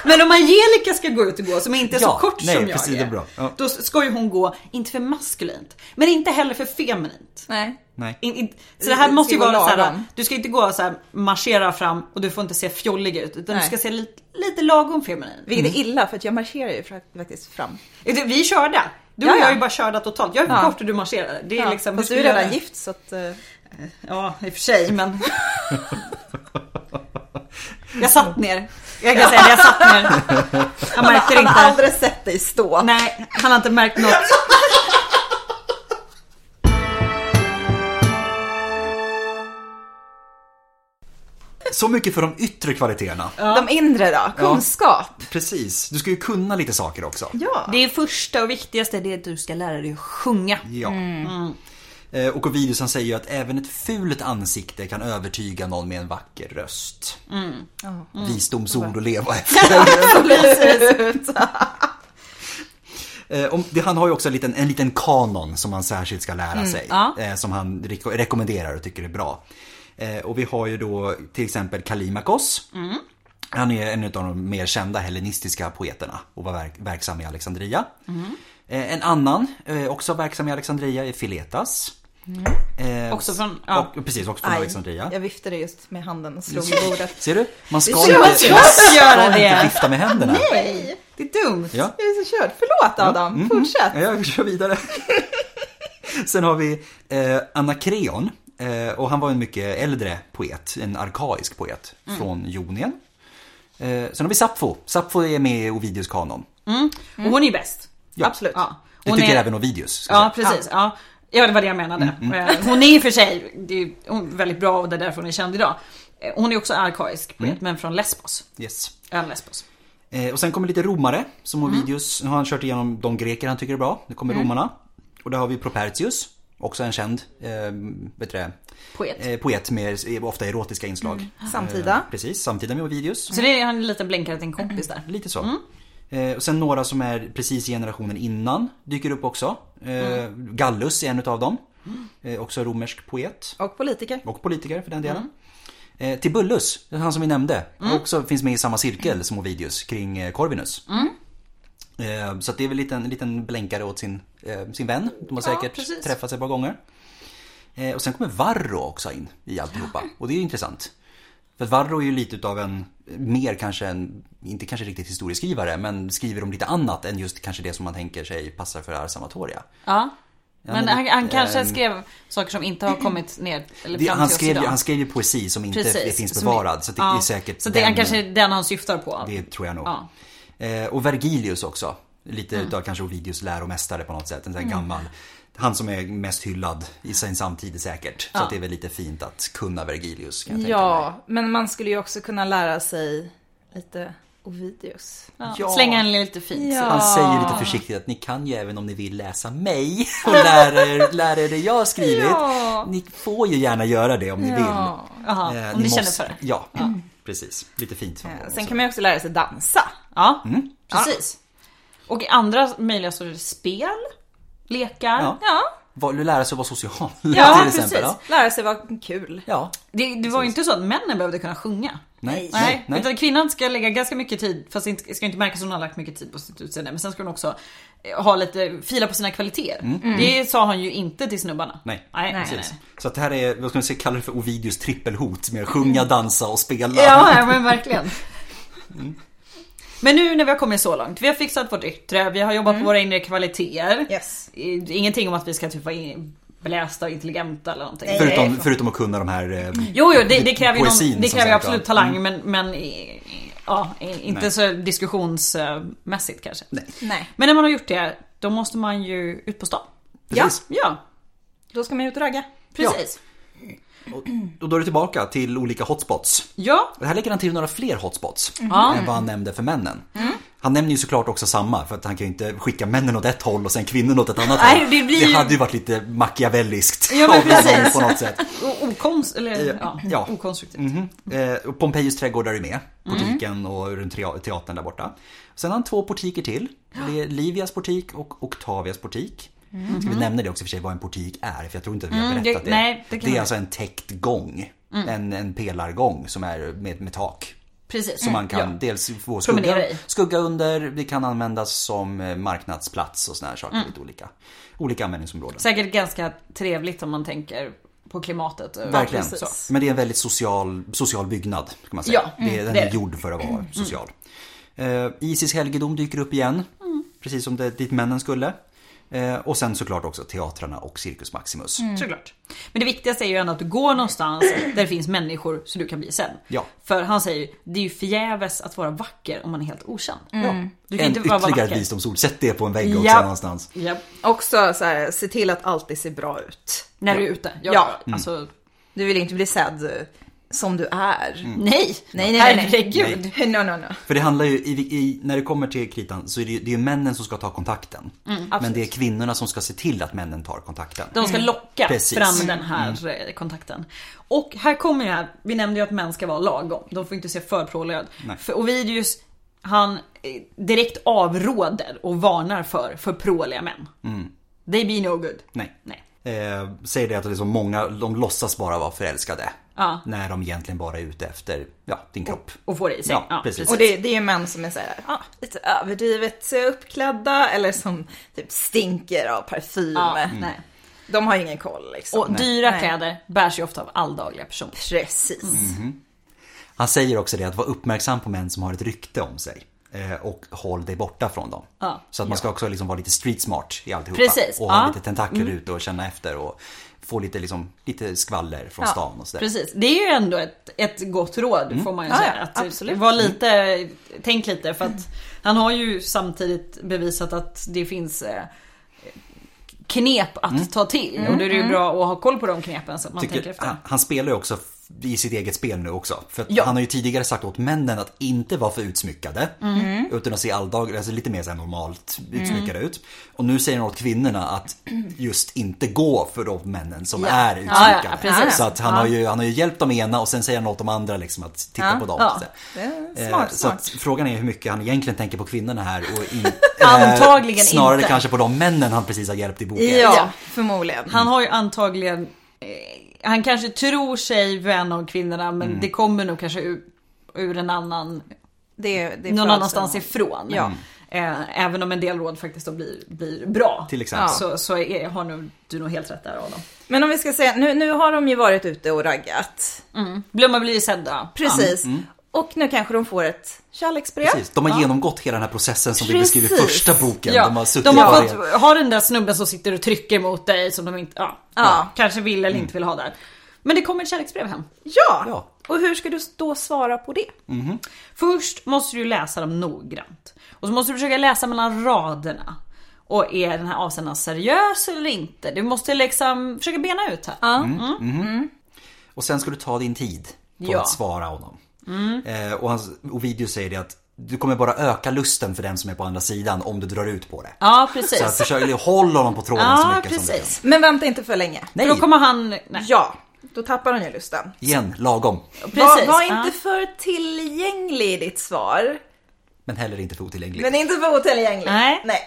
B: Men om Angelica ska gå ut och gå som inte är så
A: Ja,
B: kort
A: nej,
B: som jag
A: precis,
B: är,
A: det är bra. Ja.
B: Då ska ju hon gå, inte för maskulint, men inte heller för feminint.
C: Nej.
A: Nej.
B: In, in, så det här måste ju
C: Till och
B: vara såhär,
C: lagom.
B: du ska inte gå såhär marschera fram och du får inte se fjollig ut utan du
C: Nej.
B: ska se lite, lite lagom feminin. Vi,
A: Mm.
C: Vilket är illa för att jag marscherar ju fra- faktiskt fram.
B: vi är körda. Du och
C: Ja, ja.
B: jag är ju bara körda totalt. Jag är
C: Ja.
B: kort och du marscherar. Det är
C: Ja,
B: liksom,
C: fast
B: hur
C: du är
B: ska vi
C: redan
B: göra?
C: gift så att... eh,
B: Ja, i och för sig men. Jag satt ner. Jag kan säga det, jag satt ner. Han märker
C: Han har
B: inte.
C: aldrig sett dig stå.
B: Nej, han har inte märkt något.
A: Så mycket för de yttre kvaliteterna.
C: De inre då? Kunskap?
A: Precis, du ska ju kunna lite saker också.
C: Ja.
B: Det är första och viktigaste, det är att du ska lära dig att sjunga.
A: Ja. Eh, Och Ovidius han säger ju att även ett fult ansikte kan övertyga någon med en vacker röst. Visdomsord att leva efter. Eh, om- det- han har ju också en liten, en liten kanon som han särskilt ska lära sig.
B: Mm, ja.
A: eh, Som han reko- rekommenderar och tycker är bra. Eh, Och vi har ju då till exempel Kalimakos.
B: Mm.
A: Han är en av de mer kända hellenistiska poeterna och var verk, verksam i Alexandria.
B: Mm.
A: Eh, En annan, eh, också verksam i Alexandria, är Filetas. Eh,
B: Mm. Också från- ja.
A: och, precis, också från Alexandria.
C: jag viftade just med handen och slog i bordet.
A: Ser du? Man ska
C: Jag
A: inte, man
C: ska
B: göra
A: ska inte
B: det.
A: vifta med händerna.
C: Nej,
B: Det är dumt.
A: Ja. Mm-hmm.
C: jag är så körd. Förlåt Adam, fortsätt.
A: Ja, jag kör vidare. Sen har vi eh, Anakreon. Eh, och han var en mycket äldre poet, en arkaisk poet
B: Mm.
A: från Jonien. Eh, sen har vi Sappho. Sappho är med i Ovidius kanon.
B: Mm. Och hon är ju bäst.
A: Ja.
C: Absolut.
B: Ja.
A: Det
B: Hon
A: tycker
B: är-
A: även Mm, Ovidius. ska
B: Ja, precis. Ja. ja, det var det jag menade. Eh, Hon är i och för sig det är ju- hon är väldigt bra och det är därför hon är känd idag. Eh, Hon är också arkaisk
A: Mm.
B: poet, men från Lesbos.
A: säga. Yes.
B: Ön Lesbos.
A: Eh, och sen kommer lite romare som
B: Mm.
A: Ovidius. Nu har han kört igenom de greker han tycker är bra. Nu kommer romarna. Och där har vi Propertius. Också en känd eh, vet du det,
B: Poet. Mm.
A: eh, poet med ofta erotiska inslag. Eh,
C: Samtida.
A: Precis, samtida med Ovidius.
B: Så det är han en liten blänkare till en kompis där.
A: Lite så. Eh, och sen några som är precis i generationen innan dyker upp också. Eh, Gallus är en utav dem. Eh, också romersk poet.
C: Och politiker.
A: Och politiker för den delen.
B: Mm.
A: Eh, Tibullus, han som vi nämnde, också finns med i samma cirkel som Ovidius kring eh, Corvinus.
B: Mm.
A: Eh, så att det är väl lite en liten blänkare åt sin, eh, sin vän. De har
B: Ja,
A: säkert
B: precis.
A: träffats ett par gånger. Eh, och sen kommer Varro också in i alltihopa. Och det är ju intressant. För att Varro är ju lite utav en, mer kanske en, inte kanske riktigt historieskrivare, men skriver om lite annat än just kanske det som man tänker sig passar för Ars Amatoria.
B: Ja.
A: men
B: Men
A: det-
B: han, han kanske
A: ehm,
B: skrev saker som inte har kommit ner eller
A: Det,
B: fram
A: han,
B: till
A: skrev,
B: oss
A: ju-
B: idag.
A: han skrev ju poesi som inte det finns
B: Som-
A: bevarad. Så att det
B: ja.
A: är säkert
B: Så det
A: den-
B: han kanske är den han syftar på.
A: Det tror jag nog.
B: Ja. Mm.
A: Eh, och Vergilius också. Lite utav kanske Ovidius läromästare på något sätt. En sån här gammal. Han som är mest hyllad i sin samtid säkert. Så att det är väl lite fint att kunna Vergilius kan jag tänka mig.
C: Ja, men man skulle ju också kunna lära sig lite Ovidius.
B: Ja.
A: Ja.
B: Slänga en lite fint.
C: Ja.
B: så.
A: Han säger lite försiktigt att ni kan ju även om ni vill läsa mig och lära er, lära er det jag har skrivit.
C: Ja.
A: Ni får ju gärna göra det om ni
C: Ja.
A: vill.
B: Jaha,
A: Eh,
B: om ni känner
A: måste-
B: för det. Mm. Eh,
A: Ja, precis. Lite fint. från honom
C: Sen
A: också.
C: kan man ju också lära sig dansa.
B: Ja,
A: Mm.
B: precis. Och i andra möjliga så är det spel, lekar.
A: Ja.
B: Ja,
A: Vad- Lära sig att vara social
B: Ja,
A: till
B: precis.
A: exempel. Ja,
C: Lära sig vara kul.
A: ja.
B: Det, det var ju inte så att männen behövde kunna sjunga.
A: Nej,
B: Nej, utan kvinnan ska lägga ganska mycket tid, fast inte, ska inte märkas att hon har lagt mycket tid på sitt utseende. Men sen ska hon också eh, ha lite, fila på sina kvaliteter. Det sa han ju inte till snubbarna.
A: Nej,
B: Mm. nej, nej,
A: Precis.
B: nej.
A: Så att det här är, vad ska man säga, kalla det för Ovidius trippelhot med att sjunga, dansa och spela.
B: Mm. Ja, Mm. ja, men verkligen. Men nu när vi har kommit så långt, vi har fixat vårt yttre, vi har jobbat på våra inre kvaliteter.
C: Yes.
B: I- Ingenting om att vi ska typ vara in- belästa och intelligenta eller någonting.
A: Förutom, förutom att kunna de här... eh,
B: Jo, jo, det, det kräver ju
A: Poesin,
B: någon, det
A: som
B: kräver ju
A: sagt,
B: absolut
A: ja. Mm.
B: talang men, men i- i- ja, i- inte
A: Nej.
B: så diskussionsmässigt kanske.
C: Nej.
B: Men när man har gjort det, då måste man ju ut på stan.
A: Precis.
B: Ja,
C: Då ska man ut och ragga.
B: precis.
A: Och då är du tillbaka till olika hotspots.
B: Ja,
A: Och här lägger han till några fler hotspots
B: Mm. Ja. Mm.
A: än vad han nämnde för männen. Han nämner ju såklart också samma, för att han kan ju inte skicka männen åt ett håll och sen kvinnorna åt ett annat
B: Nej,
A: håll.
B: det blir ju-
A: hade ju varit lite machiavelliskt
B: Ja, men
A: av honom
B: precis.
A: på något sätt.
B: och okonst, eller, ja,
A: ja.
B: okonstruktivt.
A: Eh, och Pompejus trädgård är ju med.
B: Mm.
A: Portiken och runt tea- teatern där borta. Sen har han två portiker till. Det är Livias portik och Octavias portik. Ska vi nämna det också i och för sig vad en portik är? För jag tror inte att vi har
B: Mm,
A: berättat
B: det-
A: det.
B: nej, det
A: är
B: kan man- Mm.
A: alltså en täckt gång. En, en pelargång som är med, med tak.
B: Precis.
A: Som man kan
B: Ja.
A: dels få
B: Promenera
A: skugga,
B: i.
A: skugga under, det kan användas som eh, marknadsplats och såna här
B: Mm.
A: saker. Lite olika, olika användningsområden.
B: Säkert ganska trevligt om man tänker på klimatet.
A: Verkligen.
B: Så.
A: Så. Men det är en väldigt social, social byggnad. Kan man säga.
B: Ja, mm,
A: det är, den
B: det
A: är
B: är det. Mm.
A: gjord för att vara
B: Mm.
A: social. Eh, Isis helgedom dyker upp igen. Precis som det, dit männen skulle. Eh, och sen såklart också teatrarna och Circus Maximus.
B: Såklart. Men det viktigaste är ju ändå att du går någonstans där det finns människor så du kan bli sedd.
A: Ja.
B: För han säger ju, det är ju förgäves att vara vacker om man är helt okänd. Du kan
A: Mm. En
B: inte bara vara
A: ytterligare
B: vacker.
A: visdomsord, sätt det på en vägg också
C: Ja.
A: någonstans.
B: Japp.
C: Också så här, se till att alltid se bra ut.
B: När du är ute. Ja.
C: Ja.
B: Alltså,
C: Du vill inte bli sedd eh, som du är.
A: Mm.
B: nej.
C: Nej, nej, nej, nej.
B: Herregud.
C: No, no, no.
A: För det handlar ju, i, i, när det kommer till kritan så är det ju det är ju männen som ska ta kontakten. Men det är kvinnorna som ska se till att männen tar kontakten.
B: Mm, De ska locka
A: Mm. Precis.
B: fram den här eh, kontakten. Och här kommer ju här, vi nämnde ju att män ska vara lagom. De får inte se för pråliga ut.
A: Nej.
B: För Ovidius, han eh, direkt avråder och varnar för för pråliga män.
A: Mm.
B: They be no good.
A: Nej.
B: Nej.
A: Eh, säger det att liksom många, de låtsas bara vara förälskade.
B: Ja.
A: När de egentligen bara är ute efter, ja, din kropp.
B: Och får det i sig.
A: Ja, precis.
C: Och det, det är ju män som är så här, ah, lite överdrivet eh, uppklädda eller som typ stinker av parfym.
B: Ja,
A: Mm.
B: nej.
C: De har ju ingen koll liksom.
B: Och dyra
C: Nej.
B: kläder bärs ju ofta av alldagliga personer.
C: Precis.
A: Mm. Han säger också det att vara uppmärksam på män som har ett rykte om sig. Eh, och håll dig borta från dem.
B: Ja.
A: Så att man ska också liksom vara lite street smart i alltihopa.
B: Precis,
A: Och ha
B: ja. Mm.
A: lite tentakler ute och känna efter och få lite, liksom, lite skvaller från
C: Ja,
A: stan och sådär.
B: Precis, det är ju ändå ett, ett gott råd får man ju
C: Mm. Ja,
B: säga.
C: ja,
B: att
C: absolut. Mm.
B: Var lite, Tänk lite för att han har ju samtidigt bevisat att det finns eh, knep att
C: Mm.
B: ta till. Och då är det ju bra att ha koll på de knepen så att man tänker
A: Tycker,
B: efter.
A: han, han spelar ju också f- i sitt eget spel nu också. För att
B: Ja.
A: han har ju tidigare sagt åt männen att inte vara för utsmyckade.
B: Mm.
A: Utan att se alldag, alltså lite mer så här normalt utsmyckade ut. Och nu säger han åt kvinnorna att just inte gå för de männen som är
B: Ja, ja,
A: utsmyckade.
B: precis.
A: så att han,
B: Ja.
A: har ju, han har ju hjälpt de ena och sen säger han åt de andra liksom att titta på dem.
B: ja.
A: Så.
C: Det är
A: Eh,
C: smart,
A: så att
C: smart.
A: frågan är hur mycket han egentligen tänker på kvinnorna här och in,
B: Antagligen
A: Snarare
B: inte.
A: kanske på de männen han precis har hjälpt i boken.
C: Ja, förmodligen.
B: Han har ju antagligen, eh, han kanske tror sig vän av kvinnorna men
C: Mm.
B: det kommer nog kanske ur, ur en annan,
C: Det, är- det är
B: någon
C: bra
B: annanstans
C: att-
B: ifrån.
C: Ja.
B: Eh, Även om en del råd faktiskt då blir, blir bra.
A: Till exempel.
B: Så, så är, har nog, du nog helt rätt där Adam.
C: Men om vi ska säga, nu, nu har de ju varit ute och raggat.
B: Blomma blir ju sedda.
C: Precis. Och nu kanske de får ett kärleksbrev.
A: Mm. Precis, de har genomgått hela den här processen som
C: Precis.
A: vi beskriver i första boken.
B: Ja,
A: de har suttit bara i-
B: fått ha den där snubben som sitter och trycker mot dig som de inte, ja,
C: Ja.
B: kanske vill eller
A: Mm.
B: inte vill ha där. Men det kommer ett kärleksbrev hem.
C: Ja.
A: Ja. Mm.
C: Och hur ska du då svara på det?
B: Först måste du läsa dem noggrant. Och så måste du försöka läsa mellan raderna. Och är den här avsändaren seriös eller inte? Du måste liksom försöka bena ut här. Mm.
A: Mm. Och sen ska du ta din tid på
B: Ja. Mm.
A: att svara honom. Eh, och hans video säger det att du kommer bara öka lusten för den som är på andra sidan om du drar ut på det.
B: Ja
A: Så att
B: precis.
A: försök, håll honom på tråden så
B: Ja
A: mycket som du kan.
B: precis.
C: Men vänta inte för länge.
B: För då kommer han... Nej,
C: Ja, då tappar han ju lusten.
A: Igen, lagom.
B: precis.
C: Var, var
B: Ja.
C: inte för tillgänglig i ditt svar.
A: Men heller inte för otillgänglig.
C: Men inte för otillgänglig.
B: Nej.
C: Nej.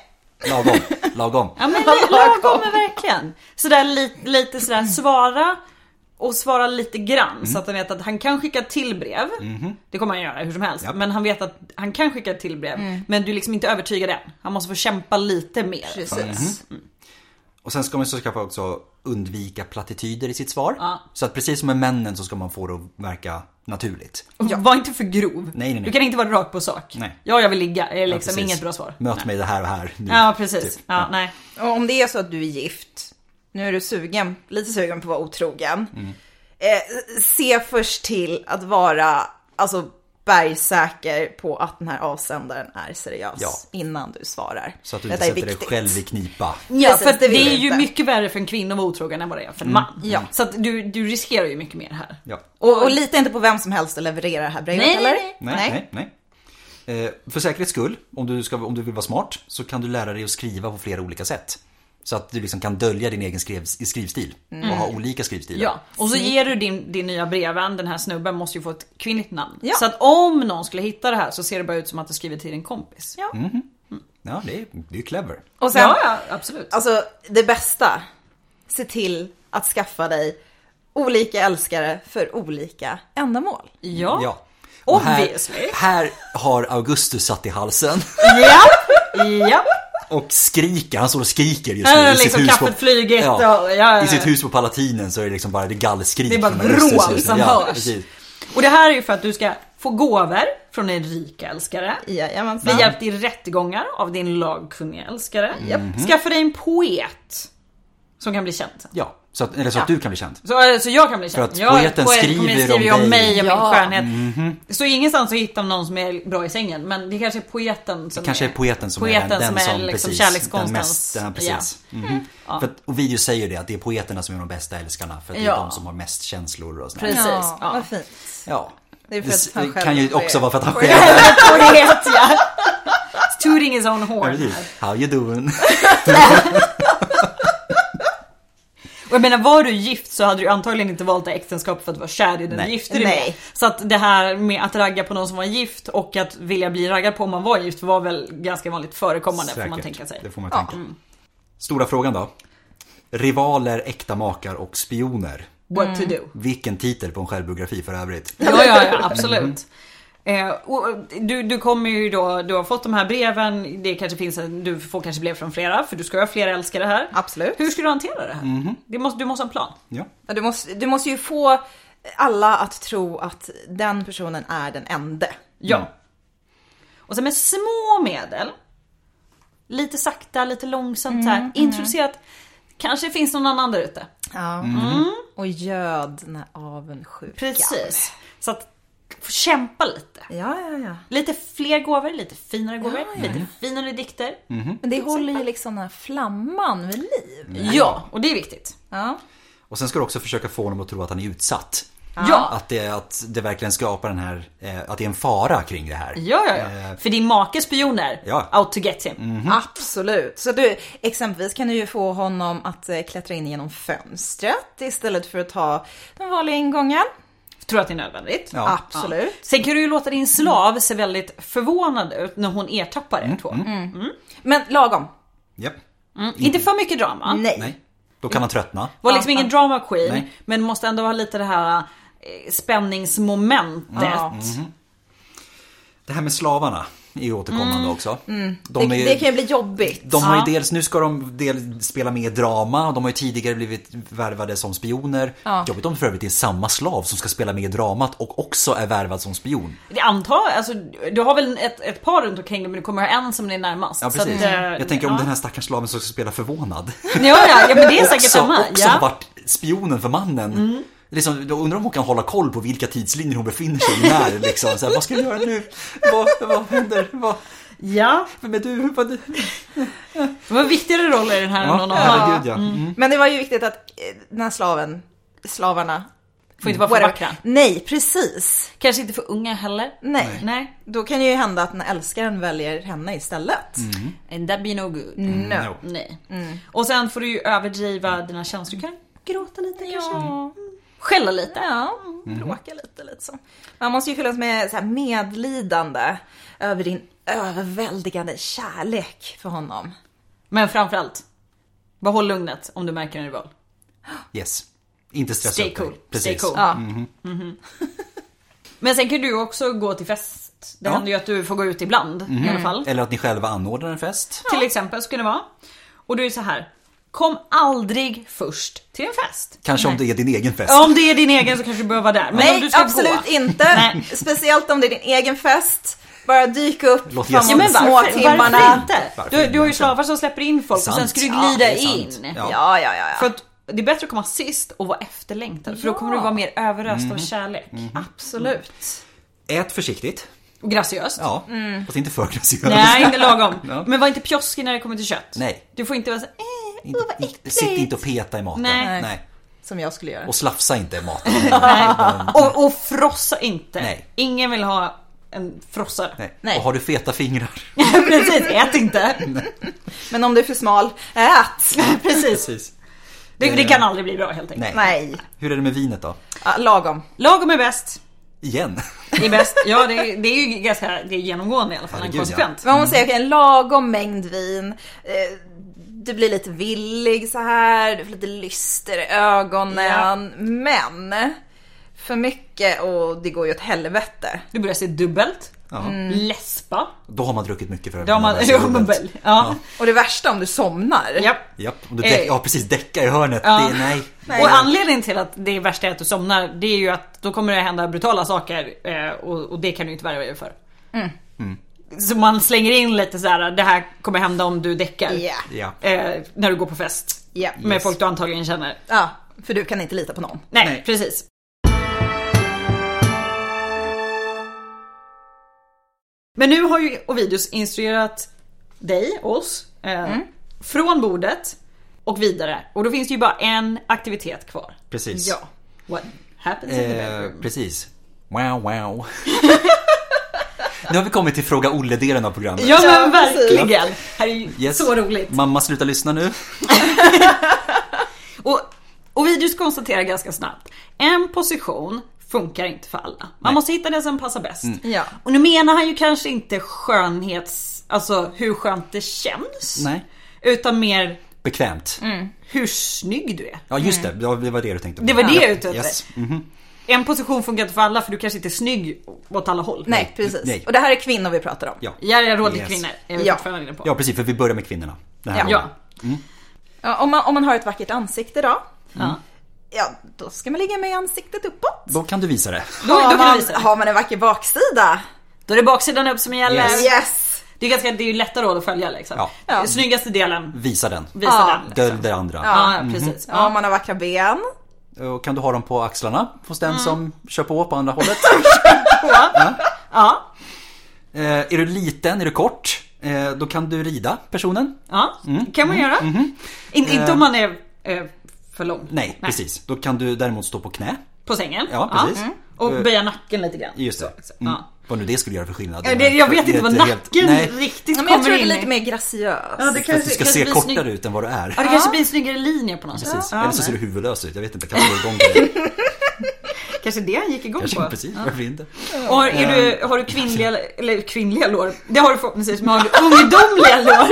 A: Lagom, lagom.
B: Ja men li- lagom men verkligen. Sådär lite, lite sådär svara och svara lite grann så att han vet att han kan skicka till brev. Det kommer han göra hur som helst. Men han vet att han kan skicka till brev. Men du är liksom inte övertygad än. Han måste få kämpa lite mer.
C: Precis.
A: Mm-hmm. Och sen ska man så kanske också undvika plattityder i sitt svar.
B: Ja.
A: Så att precis som med männen så ska man få det att verka naturligt.
B: Och Var inte för grov.
A: nej, nej.
B: Du kan inte vara rakt på sak.
A: Nej.
B: Ja jag vill ligga är
A: Ja,
B: liksom
A: precis.
B: inget bra svar.
A: Möt mig det här och här nu.
B: Ja precis.
A: typ.
B: Ja, nej.
C: Och om det är så att du är gift, nu är du sugen, lite sugen på att vara otrogen.
A: Mm.
C: Eh, se först till att vara, alltså bergsäker på att den här avsändaren är seriös
A: Ja.
C: innan du svarar.
A: Så att du inte
C: Detta är
A: sätter dig
C: viktigt.
A: själv i knipa.
B: Ja,
C: Precis,
B: för att det,
C: vill
B: är
C: du
B: ju
C: inte.
B: mycket värre för en kvinna att vara otrogen än vad det är för en man.
C: Ja.
B: Så att du, du riskerar ju mycket mer här.
A: Ja.
C: Och, och lita inte på vem som helst att leverera det här brevet
B: Nej, nej,
C: eller?
B: nej.
A: Nej, nej, nej. Eh, för säkerhets skull, om du, ska, om du vill vara smart, så kan du lära dig att skriva på flera olika sätt. Så att du liksom kan dölja din egen skrev, skrivstil och ha olika skrivstilar.
B: Mm. Ja, och så ger du din, din nya brevvän, den här snubben, måste ju få ett kvinnligt namn.
C: Ja.
B: Så att om någon skulle hitta det här så ser det bara ut som att du skriver till din kompis.
C: Ja.
A: Ja, det är, det är clever.
C: Och sen,
B: ja, ja, absolut.
C: Alltså det bästa, se till att skaffa dig olika älskare för olika ändamål.
B: Ja.
A: Ja. Och här,
B: Obviously.
A: här har Augustus satt i halsen
B: Ja. ja.
A: och skriker. Han står och skriker just nu
B: Ja,
A: i sitt
B: liksom
A: hus.
B: kaffet flyger
A: ja,
B: och- ja, ja, ja.
A: I sitt hus på Palatinen så är det liksom bara det gallskrik.
B: Det är bara
A: från Augustus
B: vrål
A: just nu.
B: som
A: ja,
B: hörs.
A: precis.
B: Och det här är ju för att du ska få gåvor från en rik älskare. Bli
C: Jajamensan.
B: hjälpt i rättegångar av din lagkunniga älskare. Skaffa dig en poet. Som kan bli känd.
A: Ja, så att, eller så att du kan bli känd.
B: Så, så jag kan bli känd.
A: att
B: jag,
A: poeten
B: poet-
A: skriver
B: kommer
A: om
B: skriver ju om
A: dig.
B: mig och
C: Ja.
B: min skönhet. Så ingenstans så hittar man någon som är bra i sängen. Men det kanske är poeten som
A: Kanske är
B: är
A: poeten som är
B: poeten
A: den, den
B: som
A: som,
B: är liksom
A: precis, den
B: kärlekskonstens-
A: mest, ja, precis. Mhm.
B: Ja.
A: För att Ovidius säger ju det, att det är poeterna som är de bästa älskarna. För att det är
B: Ja.
A: de som har mest känslor och sånt.
B: Precis.
C: Ja,
B: Ja.
C: vad fint.
A: Ja.
C: Det är för
A: Det
C: att han själv
A: kan ju
C: är-
A: också vara för att han själv
B: poet ja. Tooting his own horn.
A: Precis. How you doing?
B: Och jag menar var du gift så hade du antagligen inte valt det här äktenskapet för att vara kär i den
A: Nej.
B: du gifte dig
C: Nej.
B: med. Så att det här med att ragga på någon som var gift och att vilja bli raggad på om man var gift var väl ganska vanligt förekommande får man
A: Säkert. Mm.
B: tänka sig. Mm.
A: Det får man tänka. Stora frågan då. Rivaler, äkta makar och spioner.
B: What to do.
A: Vilken titel på en självbiografi för övrigt.
B: Ja, ja, ja absolut. Eh, och du, du kommer ju då, du har fått de här breven, det kanske finns en, du får kanske brev från flera för du ska ju ha flera älskare här.
C: Absolut.
B: Hur ska du hantera det här?
A: Mhm.
B: Det måste, du måste ha en plan.
A: Ja.
C: Ja, Du måste, du måste ju få alla att tro att den personen är den ende.
B: Ja.
A: Mm.
B: Och sen med små medel, lite sakta, lite långsamt så här, introducera att kanske finns någon annan där ute.
C: Ja. Mm. Och göd den här avundsjukan.
B: Precis. Så att få kämpa lite.
C: Ja, ja, ja.
B: Lite fler gåvor, lite finare gåvor, lite finare dikter.
A: Mm.
C: Men det håller ju liksom den här flamman vid
B: Mm.
C: liv.
B: Ja, och det är viktigt.
C: Ja.
A: Och sen ska du också försöka få honom att tro att han är utsatt.
B: ja.
A: Att det, att det verkligen skapar den här, eh, att det är en fara kring det här.
B: Ja, ja, ja. För din makes spioner,
A: Eh. Ja. Mm.
B: out to get him.
C: Absolut. Så du, exempelvis kan du ju få honom att eh, klättra in genom fönstret istället för att ta den vanliga ingången.
B: Tror att det är nödvändigt.
A: Ja.
C: Absolut.
B: Sen kan du ju låta din slav se väldigt förvånad ut när hon ertappar
A: Mm,
B: er två.
C: Men lagom.
A: Japp.
B: Mm. Inte för mycket drama.
C: Nej.
A: Nej. Då kan han tröttna.
B: Var liksom ingen drama queen,
A: Nej.
B: men måste ändå ha lite det här eh, spänningsmomentet.
C: Ja.
A: Det här med slavarna är ju återkommande
B: Mm.
A: också. De
C: det,
A: är-
C: det kan ju bli jobbigt.
A: De har ju dels, nu ska de del, spela med i drama, de har ju tidigare blivit värvade som spioner. Jobbigt om det för övrigt är samma slav som ska spela med i dramat och också är värvad som spion.
B: Det antar alltså, du har väl ett, ett par runt omkring dig men du kommer ha en som är närmast.
A: Ja, precis.
B: eh,
A: Jag tänker om
B: ja.
A: den här stackars slaven som ska spela förvånad.
B: Ja, ja, ja men det är säkert
A: också
B: samma.
A: också
B: Ja. Mm.
A: varit spionen för mannen. Liksom, då undrar om hon kan hålla koll på vilka tidslinjer hon befinner sig i när. Liksom. Så här, vad ska jag göra nu? Vad, vad händer? Vad,
B: ja,
A: vem är du? Vad,
B: det var viktigare roller i den här än någon
A: ja,
B: annan.
A: herregud ja. Mm.
C: Men det var ju viktigt att eh, den här slaven, slavarna,
B: Får inte vara för
C: whatever-
B: vackra.
C: Nej, precis.
B: Kanske inte för unga heller.
C: Nej.
B: Nej.
C: Då kan det ju hända att den älskaren väljer henne istället.
A: Mm.
B: And that be no good.
A: No.
B: Nej.
C: Mm.
B: Och sen får du ju överdriva dina känslor. Du kan gråta lite kanske. Mm.
C: Ja.
B: Skälla lite.
C: Ja,
A: Mm.
C: bråka lite lite så. Man måste ju fyllas med så här medlidande över din överväldigande kärlek för honom.
B: Men framförallt, behåll lugnet om du märker en rival.
A: Yes. Inte stressa
B: Stay
A: upp dig.
B: cool. Stay
A: Precis.
B: cool.
C: Ja.
B: Men sen kan du också gå till fest. Det
A: Ja. Mhm.
B: händer ju att du får gå ut ibland i alla fall.
A: Eller att ni själva anordnar en fest.
B: Till exempel skulle det vara. Och du är det så här. Kom aldrig först till en fest.
A: Kanske om det är din egen fest.
B: Ja, om det är din egen så kanske du behöver vara där. Men om du
C: Nej,
B: ska
C: absolut
B: gå.
C: inte.
B: Nej.
C: Speciellt om det är din egen fest. Bara dyk upp
A: Låt
C: framåt
A: gästen-
B: Ja, men varför,
C: små timmarna.
B: varför inte?
A: Varför
B: Du, du har ju
A: inte?
B: slavar som släpper in folk och sen
A: Sant.
B: ska du
A: Ja,
B: glida
A: det är sant.
B: in.
A: Ja.
C: Ja, ja, ja.
B: För att det är bättre att komma sist och vara efterlängtad. För då kommer du vara mer överöst
A: Mhm.
B: av kärlek.
C: Absolut.
A: Ät försiktigt.
B: Och graciöst.
A: Ja, fast inte för graciöst.
B: Mm. Nej, inte lagom.
A: Ja.
B: Men var inte pjoskig när det kommer till kött.
A: Nej.
B: Du får inte vara så eh,
A: Inte-
B: åh vad
A: inte-
B: äckligt.
A: sitt inte och peta i maten.
B: Nej.
C: Som jag skulle göra.
A: Och slafsa inte i maten.
B: Nej. Och, och frossa inte.
A: Nej.
B: Ingen vill ha en frossare.
A: Nej.
C: Nej.
A: Och har du feta fingrar?
B: Precis, ät inte.
C: Men om du är för smal, ät!
B: Precis.
A: Precis.
B: Det, det kan aldrig bli bra helt enkelt.
A: Nej.
C: Nej,
A: Hur är det med vinet då?
C: ja, lagom.
B: Lagom är bäst. Mm.
A: Igen?
B: Det är bäst. Ja, det, är- det är ju ganska det är genomgående i alla fall.
A: Herregud,
B: en konsekvent.
C: Man måste säga okej, en lagom mängd vin. Eh, Du blir lite villig så här, du får lite lyster i ögonen. Men för mycket och det går ju åt helvete.
B: Du börjar se dubbelt.
A: Ja.
B: Läspa.
A: Då har man druckit mycket för att
B: Då har man...
A: kunna läsa
B: Ja.
A: jobbet.
B: ja.
C: Och det värsta om du somnar.
B: Japp.
A: Japp, om du däck,
B: Eh.
A: ja precis, däcka i hörnet.
B: Ja.
A: Det är, nej.
B: Och anledningen till att det värsta är att du somnar, det är ju att då kommer det hända brutala saker eh, och, och det kan du inte värja dig för.
A: Mm.
B: Så man slänger in lite så här: det här kommer hända om du däckar.
C: Ja.
A: Ja.
B: Eh, när du går på fest.
C: Ja.
B: Med folk du antagligen känner.
C: Ja, för du kan inte lita på någon.
B: Nej,
A: Nej.
B: precis. Men nu har ju Ovidius instruerat dig, oss, eh,
A: Mm.
B: från bordet och vidare. Och då finns det ju bara en aktivitet kvar.
A: Precis.
B: Ja. What happens in the
A: Eh,
B: bedroom?
A: precis. Wow, wow. nu har vi kommit till fråga Olle-delen av programmet.
B: Ja men
C: Ja, precis.
B: verkligen! Här är ju
A: Yes.
B: så roligt.
A: Mamma, sluta lyssna nu.
B: Och Ovidius konstaterar ganska snabbt, en position funkar inte för alla. Man måste hitta den som passar bäst.
A: Mm.
C: Ja.
B: Och nu menar han ju kanske inte skönhets, alltså hur skönt det känns.
A: Nej.
B: Utan mer
A: Bekvämt.
C: Mm.
B: hur snygg du är.
A: Ja, just det. Det var- det var det du tänkte på.
B: Mm. Det var det jag är ute efter.
A: Yes.
B: En position funkar inte för alla för du kanske inte är snygg åt alla håll.
C: Nej, precis.
A: Nej.
C: Och det här är kvinnor vi pratar om.
A: Ja.
B: Järja råd till
A: Yes.
B: kvinnor är vi
C: Ja.
B: fortfarande inne på.
A: Ja, precis. För vi börjar med kvinnorna. Det här
C: Ja.
A: var-
B: ja.
C: Ja, Om, man, om man har ett vackert ansikte då,
B: Ja.
C: ja då ska man ligga med ansiktet uppåt.
A: Då kan du visa det.
B: Då, då
C: har,
B: kan
C: man,
B: man, visa. det.
C: har man en vacker baksida?
B: Då är det baksidan upp som gäller.
A: Yes.
C: Yes!
B: Det är ganska, det är ju lätta råd att följa liksom.
A: Ja.
C: Ja.
B: Snyggaste delen,
A: Visa den.
B: visa
C: Ja.
B: den. Liksom.
A: Dölj det andra.
B: Ja, precis.
C: Ja.
B: Ja.
C: Om man har vackra ben?
A: Och kan du ha dem på axlarna hos
B: Mm.
A: den som kör på på andra hållet?
B: Ja.
A: eh, är du liten, är du kort, eh, då kan du rida personen.
B: Ja,
A: Mm.
B: kan man göra. In, inte om man är eh, för lång.
A: Nej, precis. Då kan du däremot stå på knä.
B: På sängen. Mm.
A: Ja, precis. Eh,
B: Och böja nacken lite grann.
A: Just det.
B: Så,
A: Mm.
B: ja.
A: Vad nu det skulle göra för skillnad.
B: Det, jag vet inte vad
A: Helt- helt-
B: nacken
A: Nej,
B: riktigt
C: Ja, men
B: kommer
C: jag tror det är
B: in
C: lite
B: i.
C: mer graciös.
B: Ja, det
A: för att du
B: kanske,
A: ska
B: kanske
A: se
B: blir snygg-
A: kortare ut än vad du är.
B: Ja, det kanske blir en snyggare linje på något sätt.
A: Precis.
B: Ja,
A: Eller så
B: men-
A: ser du huvudlös ut, jag vet inte. Kan du gå igång på det?
B: Kanske det han gick igång
A: Kanske,
B: på.
A: precis, varför inte?
B: Och är du, har du kvinnliga, eller kvinnliga lår? Det har du förhoppningsvis, men har du ungdomliga lår?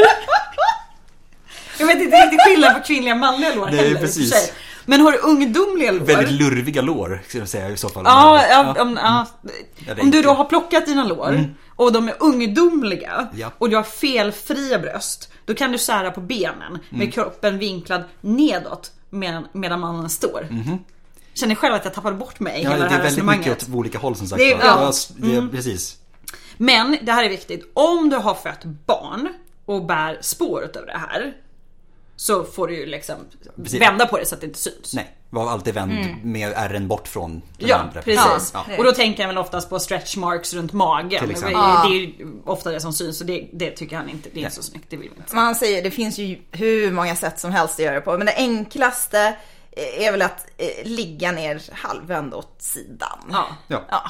B: Jag vet inte riktigt skillnad på kvinnliga och manliga lår
A: Nej,
B: heller, i och för
A: precis.
B: sig. Men har du ungdomliga lår?
A: Väldigt lurviga lår, skulle jag säga i så fall.
B: Ja,
A: Men-
B: ja, om, ja.
A: Ja, det är
B: om du
A: inte- Mm.
B: då har plockat dina lår och de är ungdomliga
A: Ja.
B: och du har felfria bröst. Då kan du sära på benen
A: Mm.
B: med kroppen vinklad nedåt medan, medan mannen står. Känner själv att jag tappade bort mig
A: Mhm.
B: i
A: Ja,
B: hela
A: det
B: det här
A: är väldigt mycket
B: resonemanget.
A: åt olika håll som sagt.
B: Det är-
A: var.
B: ja. Mm.
A: s- det, Precis.
B: Men det här är viktigt. Om du har fött barn och bär spår utav det här. Så får du ju liksom
A: Precis.
B: vända på det så att det inte syns.
A: Nej, var alltid vänd med ärren bort från den
B: Mm. Ja,
A: andra.
B: precis.
A: Ja.
B: Och då tänker han väl oftast på stretch marks runt magen.
A: Till
B: Det
A: exempel.
B: är det är ju ofta det som syns och det, det tycker han inte, det är inte så snyggt, det vill vi inte.
C: Man säger, det finns ju hur många sätt som helst att göra det på. Men det enklaste är väl att eh, ligga ner halvvänd åt sidan.
B: Ja.
A: Ja.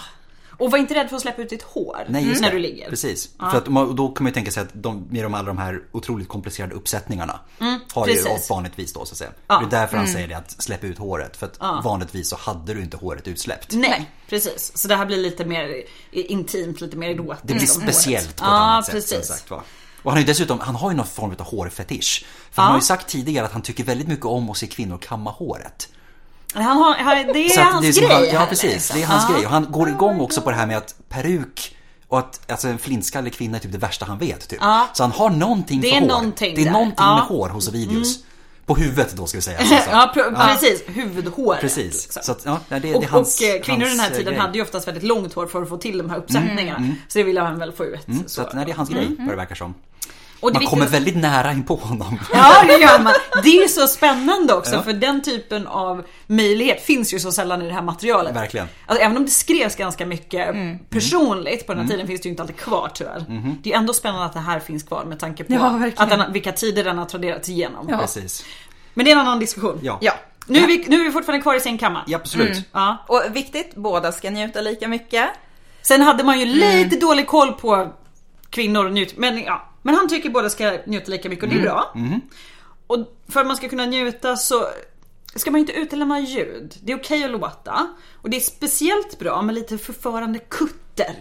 B: Och var inte rädd för att släppa ut ditt hår
A: Nej, just
B: Mm. när
A: det.
B: du ligger.
A: Precis. För att, man- då kan man ju tänka sig att de, med de, alla de här otroligt komplicerade uppsättningarna har ju
B: Mm, precis. Mm.
A: vanligtvis då så att säga. Det är därför han säger det att släpp ut håret. För att vanligtvis så hade du inte håret utsläppt.
B: Nej, precis. Så det här blir lite mer intimt, lite mer erotiskt.
A: Det blir
B: om håret.
A: speciellt på ett
B: Ja,
A: annat sätt.
B: precis.
A: Som sagt, va? Och han, är ju dessutom, han har ju någon form av hårfetisch. För han har ju sagt tidigare att han tycker väldigt mycket om att se kvinnor kamma håret.
B: Han har, han- det är
A: Så att
B: hans
A: som
B: grej.
A: han- Ja
B: här,
A: precis,
B: liksom.
A: det är hans grej. Och han går igång också på det här med att peruk och att alltså, en flintskallig kvinna är typ det värsta han vet. Typ. Så han har någonting
B: Det
A: för
B: är
A: hår.
B: någonting
A: det är
B: där.
A: någonting
B: Ja. Mm.
A: med hår hos Ovidius. På huvudet då ska vi säga. Alltså, så.
B: Ja, pr- precis. Huvudhåret.
A: Precis.
B: liksom.
A: Så att, ja, det, det är
B: Och,
A: hans,
B: och eh, kvinnor
A: hans,
B: i den här
A: eh,
B: tiden
A: grej. Mm.
B: hade ju oftast väldigt långt hår för att få till de här uppsättningarna. Så det ville han väl få ut.
A: Så att, nej, det är hans grej vad det verkar som.
B: Mm, Och det
A: Man kommer
B: viktigaste-
A: väldigt nära in på honom.
B: Ja det gör man. Det är så spännande också för den typen av möjlighet finns ju så sällan i det här materialet.
A: Verkligen.
B: Alltså, även om det skrevs ganska mycket personligt på den här tiden finns det ju inte alltid kvar tyvärr. Det är ändå spännande att det här finns kvar med tanke på
C: Ja, verkligen.
B: att den, vilka tider den har traderats igenom.
C: Ja.
A: Precis.
B: Men det är en annan diskussion.
A: Ja.
C: Ja.
B: Nu, är vi, nu är vi fortfarande kvar i sängkammaren.
A: Ja, absolut.
B: Ja.
C: Och viktigt, båda ska njuta lika mycket.
B: Sen hade man ju
A: Mm.
B: lite dålig koll på kvinnor och njut, men ja. Men han tycker båda ska njuta lika mycket och det
A: Mm.
B: är bra. Och för att man ska kunna njuta så ska man ju inte utelämna ljud. Det är okej att låta. Och det är speciellt bra med lite förförande kutter.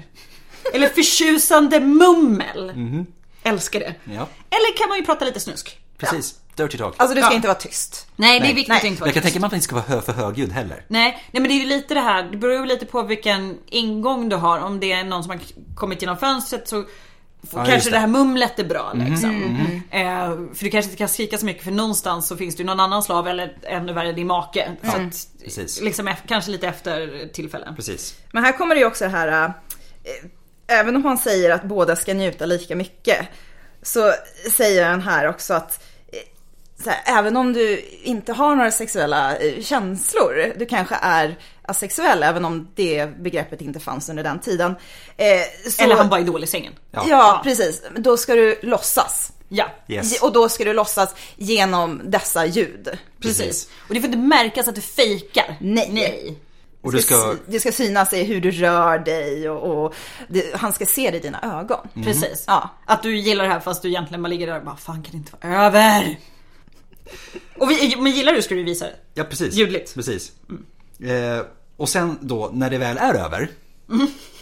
B: Eller förtjusande mummel.
A: Mm.
B: Älskar det.
A: Ja.
B: Eller kan man ju prata lite snusk.
A: Precis. Dirty talk.
C: Alltså du ska
B: Ja.
C: inte vara tyst.
B: Nej, det
A: Nej.
B: är viktigt
A: Nej.
B: att inte vara
A: jag kan
B: tyst.
A: tänka mig att man inte ska vara hö för högljudd heller.
B: Nej, nej men det är ju lite det här, det beror ju lite på vilken ingång du har. Om det är någon som har k- kommit genom fönstret så f-
A: just det.
B: kanske det. här mumlet är bra liksom. Eh, för du kanske inte kan skrika så mycket för någonstans så finns det ju någon annan slav eller ännu värre din make. så att,
A: precis.
B: Liksom, eff- kanske lite efter tillfällen.
A: Precis.
C: Men här kommer det ju också det här eh, även om han säger att båda ska njuta lika mycket så säger han här också att eh, så här, även om du inte har några sexuella eh, känslor, du kanske är asexuell även om det begreppet inte fanns under den tiden. eh, så-
B: Eller han bara är dålig i sängen.
A: Ja.
C: Ja, precis. Då ska du låtsas.
B: Ja.
A: Yes.
C: Och då ska du låtsas genom dessa ljud.
A: Precis.
B: Precis. Och det får inte märkas att du fejkar.
C: Nej.
B: Nej.
A: Och du ska...
C: sy- det ska synas i hur du rör dig och, och det, han ska se det i dina ögon.
A: Mm.
B: Precis.
C: Ja.
B: Att du gillar det här fast du egentligen bara ligger där och bara fan kan det inte vara över? Och vi, men gillar du ska du visa det.
A: Ja, precis.
B: Ljudligt.
A: Precis. Eh, och sen då, när det väl är över,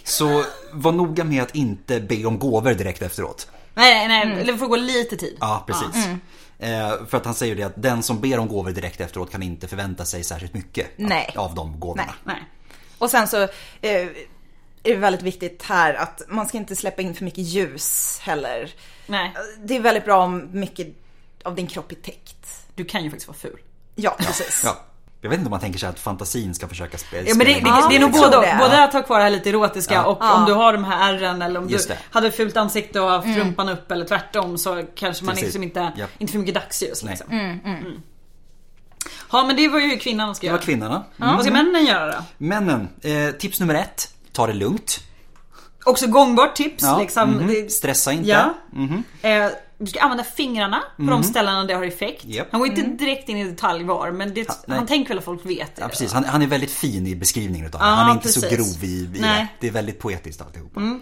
A: så var noga med att inte be om gåvor direkt efteråt.
B: Nej nej nej, eller det får gå lite tid.
A: Ja, precis.
B: Mm.
A: Eh, för att han säger ju det att den som ber om gåvor direkt efteråt kan inte förvänta sig särskilt mycket
C: Nej.
A: Av, av de gåvorna.
C: Nej.
B: Nej.
C: Och sen så eh, är det väldigt viktigt här att man ska inte släppa in för mycket ljus heller.
B: Nej.
C: Det är väldigt bra om mycket av din kropp är täckt.
B: Du kan ju faktiskt vara ful.
C: Ja, precis.
A: Ja. Jag vet inte om man tänker sig att fantasin ska försöka spela
B: Ja men det, det,
A: spela in liksom.
B: det är nog
C: jag tror
B: både och.
C: det.
B: Både att ha kvar det här lite erotiska
A: Ja.
B: och
C: Ja.
B: om du har de här ärren eller om du
A: Just det.
B: hade fult ansikte och haft rumpan upp eller tvärtom så kanske man
A: Precis.
B: liksom inte,
A: Japp.
B: inte för mycket dagsljus.
A: Nej.
B: Liksom. Mm. Ja men det var ju kvinnan ska
A: Det
B: göra.
A: var kvinnorna.
B: Vad ska männen göra då?
A: Männen, eh, tips nummer ett. Ta det lugnt.
B: Också gångbart tips. Liksom.
A: mhm.
B: Det-
A: Stressa inte.
B: Ja. Eh, du ska använda fingrarna på de ställena där det har effekt.
A: Japp.
B: Han går inte direkt in i detalj var men det,
A: nej.
B: han tänker väl att folk vet det.
A: Ja, precis. Han, han är väldigt fin i beskrivningen utav det.
B: Ja,
A: Han är inte så
B: precis.
A: grov i, i
B: Nej. Mm.
A: det. Det är väldigt poetiskt alltihopa.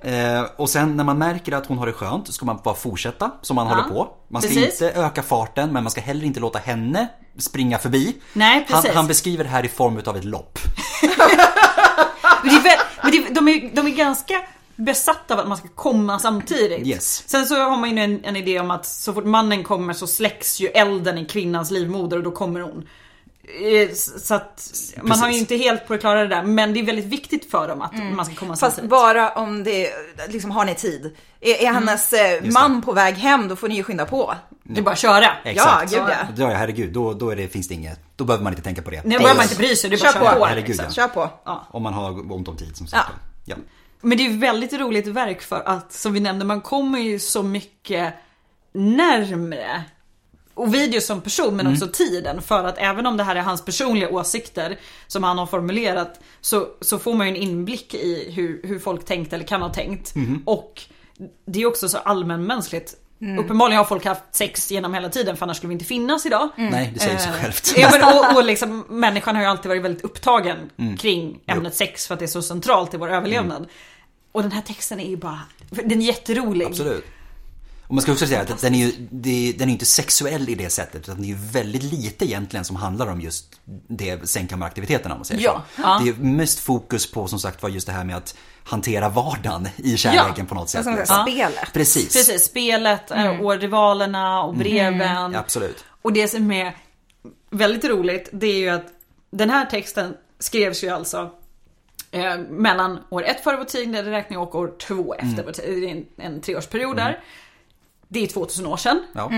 A: Eh, och sen när man märker att hon har det skönt ska man bara fortsätta som man håller på. Man ska
B: precis.
A: inte öka farten men man ska heller inte låta henne springa förbi.
B: Nej,
A: han,
B: precis.
A: han beskriver det här i form utav ett lopp.
B: Men det är väl, men det, de, är, de är ganska besatta av att man ska komma samtidigt.
A: Yes.
B: Sen så har man ju en, en idé om att så fort mannen kommer så släcks ju elden i kvinnans livmoder och då kommer hon. Eh, s- Så att man har ju
A: Precis.
B: inte helt på det klara det där men det är väldigt viktigt för dem att man ska komma
C: Mm. Fast
B: samtidigt.
C: bara om det, liksom har ni tid? Är,
A: Mm.
C: är hennes eh, man på väg hem då får ni ju skynda på.
B: Det är bara att köra.
A: Exakt.
C: Ja, gud ja.
A: ja herregud, då, då är det, finns det inget. Då behöver man inte tänka på det.
B: Nu behöver man inte bry sig, det är bara
C: Kör
B: att köra
C: på.
B: på.
A: Herregud,
B: liksom.
A: ja.
C: Kör på.
A: Om man har ont om tid som sagt. Ja.
B: Men det är ju väldigt roligt verk för att som vi nämnde man kommer ju så mycket närmre och video som person men också tiden för att även om det här är hans personliga åsikter som han har formulerat så, så får man ju en inblick i hur, hur folk tänkt eller kan ha tänkt. Och det är också så allmänmänskligt. Uppenbarligen har folk haft sex genom hela tiden för annars skulle vi inte finnas idag.
A: Nej, det säger sig självt.
B: Eh, Ja, men, och, och liksom, människan har ju alltid varit väldigt upptagen kring ämnet sex för att det är så centralt i vår överlevnad. Och den här texten är ju bara, den är jätterolig.
A: Absolut. Och man ska också säga att den är ju det- den är ju inte sexuell i det sättet utan det är ju väldigt lite egentligen som handlar om just det sängkammaraktiviteterna om man säger
B: Ja.
A: så.
B: Ja.
A: Det är ju mest fokus på som sagt var just det här med att hantera vardagen i kärleken
B: Ja.
A: på något sätt.
C: Som det
A: liksom.
C: här spelet.
A: Precis.
B: Precis, spelet eh, och rivalerna och breven.
A: Absolut.
B: Och det som är väldigt roligt det är ju att den här texten skrevs ju alltså eh, mellan år ett före vår tideräkning och år två efter vår tid. Det är en, en treårsperiod där. Det är 2000 år sedan.
A: Ja.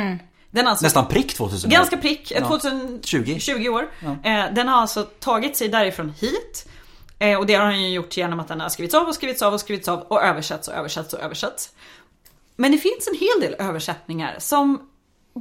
B: Den har alltså
A: Nästan prick 2000 år.
B: Ganska prick,
A: Ja.
B: 2020
A: 20.
B: 20 år. Eh, Den har alltså tagit sig därifrån hit. Eh, Och det har han ju gjort genom att den har skrivits av och skrivits av och skrivits av och översatts och översatts och översatts. Men det finns en hel del översättningar som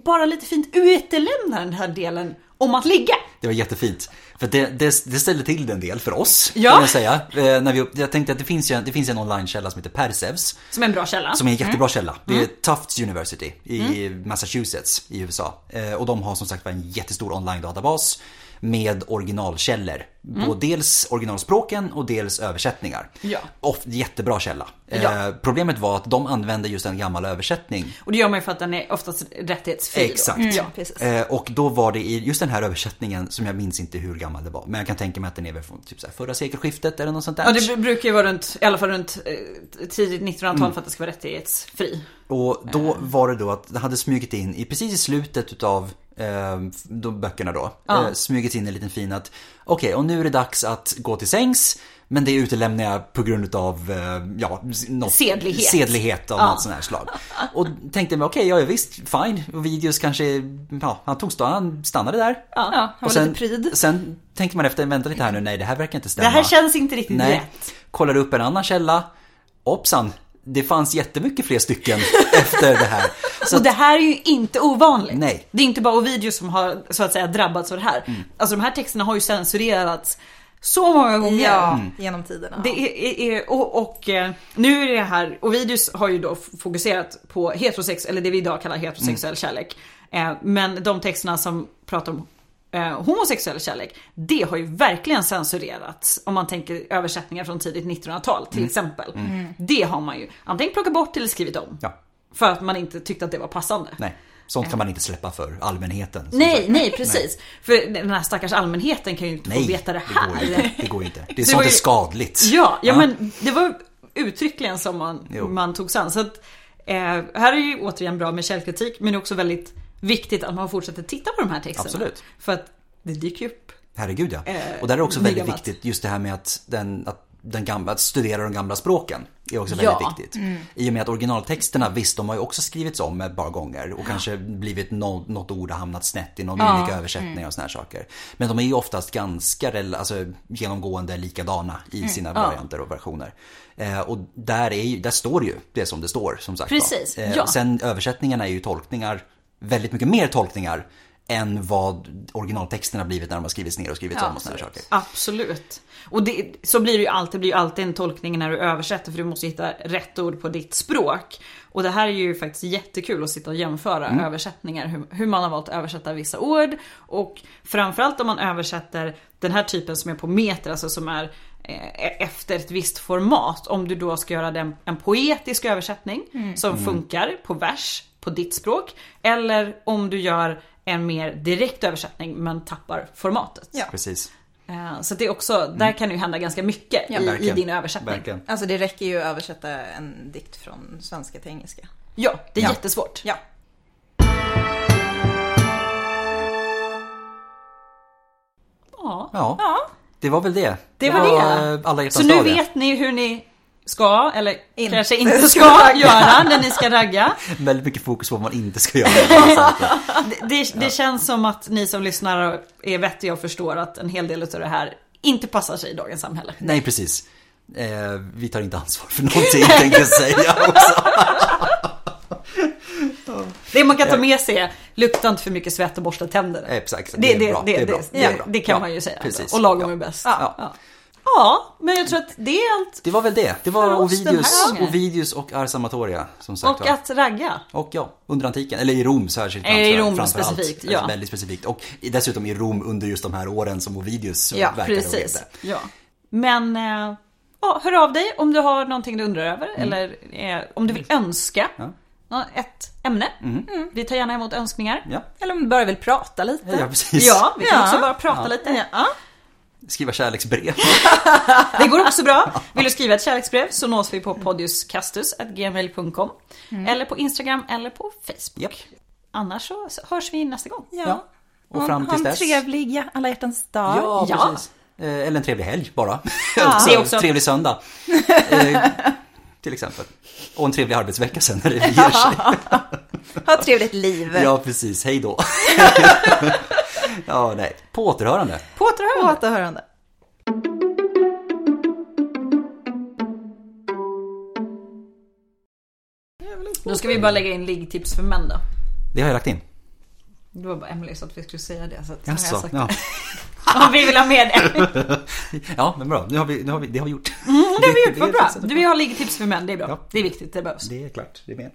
B: bara lite fint utelämnar den här delen om att ligga.
A: Det var jättefint. För det, det, det ställde till det en del för oss.
B: Ja.
A: Kan jag, säga. Eh, när vi, upp- jag tänkte att det finns ju en, det finns en onlinekälla som heter Persevs.
B: Som är en bra källa.
A: Som är en jättebra källa. Det
B: Mm.
A: är Tufts University i Massachusetts i USA. Eh, Och de har som sagt var en jättestor online-databas med originalkällor. På dels originalspråken och dels översättningar.
B: Mm. Ja.
A: Och jättebra källa. Eh,
B: Ja.
A: Problemet var att de använde just en gammal översättning.
B: Och det gör man ju för att den är oftast rättighetsfri. då.
A: Exakt.
B: Mm. Ja,
C: precis.
A: Eh, Och då var det i just den här översättningen som jag minns inte hur gammal det var. Men jag kan tänka mig att den är väl från typ så här förra sekelskiftet eller något sånt där.
B: Ja, det brukar ju vara runt, i alla fall runt eh, tidigt 1900-tal
A: Mm.
B: för att det ska vara rättighetsfri.
A: Och då
C: Ehm.
A: var det då att det hade smugit in, i precis i slutet utav eh, de böckerna då,
B: Ja.
A: eh, smugit in en liten fin att okej, och nu är det dags att gå till sängs. Men det utelämnar jag på grund utav, eh, ja, s- något,
B: Sedlighet.
A: sedlighet av något sånt här slag. Och tänkte mig, okej, ja, ja visst, fine. Och videos kanske, ja, han tog stå, han stannade där.
C: Ja, han var
A: och sen,
C: lite pryd.
A: sen tänker man efter, vänta lite här nu, nej det här verkar inte stämma.
B: Det här känns inte riktigt
A: Nej.
B: rätt.
A: Kollar upp en annan källa hoppsan, det fanns jättemycket fler stycken efter det här. Så
B: och det här är ju inte ovanligt.
A: Nej. Mm.
B: Det är inte bara Ovidius som har så att säga drabbats av det här. Alltså de här texterna har ju censurerats så många gånger.
C: Ja,
A: Mm.
C: genom tiderna.
B: Det är, är, är, och, och eh, nu är det här, Ovidius har ju då f- fokuserat på heterosex, eller det vi idag kallar heterosexuell
A: Mm.
B: kärlek. Eh, men de texterna som pratar om eh, homosexuell kärlek, det har ju verkligen censurerats. Om man tänker översättningar från tidigt 1900-tal
A: Mm.
B: till exempel. Det har man ju antingen plockat bort eller skrivit om.
A: ja,
B: För att man inte tyckte att det var passande.
A: nej. Sånt kan man inte släppa för allmänheten. som
B: Nej,
A: sagt.
B: nej precis. För den här stackars allmänheten kan ju inte
A: Nej,
B: få veta det
A: Det
B: här.
A: går, ju inte. det går ju inte. Det är
B: Det
A: sånt
B: var
A: är
B: ju-
A: skadligt.
B: Ja, ja men det var uttryckligen som man,
A: Jo.
B: man tog sig an. Så att, eh, här är ju återigen bra med källkritik men det är också väldigt viktigt att man fortsätter titta på de här texterna.
A: Absolut.
B: För att det dyker ju upp.
A: Herregud ja.
B: Eh,
A: Och där är också väldigt
B: Nigamat.
A: viktigt just det här med att, den, att, den gamla, att studera de gamla språken. är också
B: Ja. Mm.
A: väldigt viktigt. I och med att originaltexterna, visst de har ju också skrivits om ett par gånger och kanske blivit no, något ord har hamnat snett i någon
B: Mm.
A: olika översättningar och såna här saker. Men de är ju oftast ganska rel- alltså, genomgående likadana
B: Mm.
A: i sina varianter och versioner. Eh, och där, är ju, där står ju det som det står som sagt var.
B: Precis,
A: Eh,
B: ja.
A: Sen översättningarna är ju tolkningar, väldigt mycket mer tolkningar än vad originaltexterna blivit när de har skrivits ner och skrivits om och såna här saker.
B: Absolut. Och det, så blir det ju alltid, det blir ju alltid en tolkning när du översätter för du måste hitta rätt ord på ditt språk. Och det här är ju faktiskt jättekul att sitta och jämföra översättningar, hur, hur man har valt att översätta vissa ord. Och framförallt om man översätter den här typen som är på meter, alltså som är eh, efter ett visst format. Om du då ska göra den, en poetisk översättning som funkar på vers, på ditt språk. Eller om du gör en mer direkt översättning men tappar formatet.
C: Ja.
A: Precis.
B: Eh, Så det är också, där kan det ju hända ganska mycket i,
C: Ja,
B: i
A: Mm. Verkligen.
B: din översättning.
A: Verkligen.
C: Alltså det räcker ju att översätta en dikt från svenska till engelska.
B: Ja, det är
A: Ja.
B: jättesvårt.
C: Ja.
B: Ja.
A: Ja,
C: Ja.
A: det var väl det.
B: Det var det.
A: Alla hjärtans
B: Så nu
A: dag, det.
B: vet ni hur ni ska, eller
C: Inte
B: kanske inte
C: ska
B: ska,
C: ragga.
B: göra när ni ska ragga.
A: Väldigt mycket fokus på vad man inte ska göra. eh,
B: Det, det, det känns som att ni som lyssnar är vettiga och förstår att en hel del av det här inte passar sig i dagens samhälle.
A: Nej, precis. Eh, vi tar inte ansvar för någonting tänkte jag säga också.
B: Det man kan ta med sig är, lukta inte för mycket svett och borsta tänderna.
A: Exakt,
B: det, det, det, det,
A: det är
B: det,
A: bra.
B: det kan
A: Ja,
B: man ju säga.
A: precis.
B: Och lagom
A: Ja.
B: är bäst.
A: Ja.
B: Ja. ja, men jag tror att det är allt.
A: Det var väl det. Det var
B: För oss den här
A: Ovidius,
B: gången.
A: Ovidius och Ars Amatoria som sagt
B: Och
A: var.
B: att ragga.
A: Och ja, under antiken, eller i Rom särskilt.
B: Eh, i
A: framför-
B: Rom
A: framför allt.
B: specifikt, ja.
A: Väldigt specifikt. Och dessutom i Rom under just de här åren som Ovidius eh,
C: Ja,
A: verkade och
B: Precis.
A: levde.
B: Ja. Men eh, ja, hör av dig om du har någonting du undrar över
A: Mm.
B: eller eh, om du vill önska nå- ett ämne. Mm. Vi tar gärna emot önskningar.
A: Ja,
C: Eller om du bara vill prata lite.
A: ja precis.
B: Ja, vi kan
C: Ja.
B: också bara prata
A: Ja.
B: lite. Ja.
A: Skriva kärleksbrev.
B: Det går också bra. Vill du skriva ett kärleksbrev så nås vi på
A: Mm.
B: podiuscastus.gmail.com Eller på Instagram eller på Facebook.
A: Japp.
B: Annars så hörs vi nästa gång.
A: Ja. Och fram
C: ha
A: tills
C: en
A: dess.
C: trevlig ja, alla hjärtans dag.
A: Ja,
B: Ja.
A: precis. Eh, Eller en trevlig helg bara.
B: Det
A: också,
B: är också-
A: Trevlig söndag. Eh, Till exempel. Och en trevlig arbetsvecka sen när det ger sig.
C: Ha ett trevligt liv.
A: Ja, precis. Hej då. Ja, nej. På återhörande.
B: På återhörande.
C: På återhörande.
A: Mm.
B: Då ska vi bara lägga in liggtips för män då.
A: Det har jag lagt in.
B: Det var bara Emelie så att vi skulle säga det. Så att nu har jag
A: Jaså,
B: sagt
A: ja.
B: Om vi vill ha med det.
A: ja, men bra. Nu har vi, nu har vi, det har vi gjort.
B: Mm, Det har vi gjort, vad
A: är
B: bra.
A: fixat.
B: Du, vi har liggtips för män, det är bra.
A: Ja.
B: Det är viktigt, det behövs.
A: Det är klart, det är med.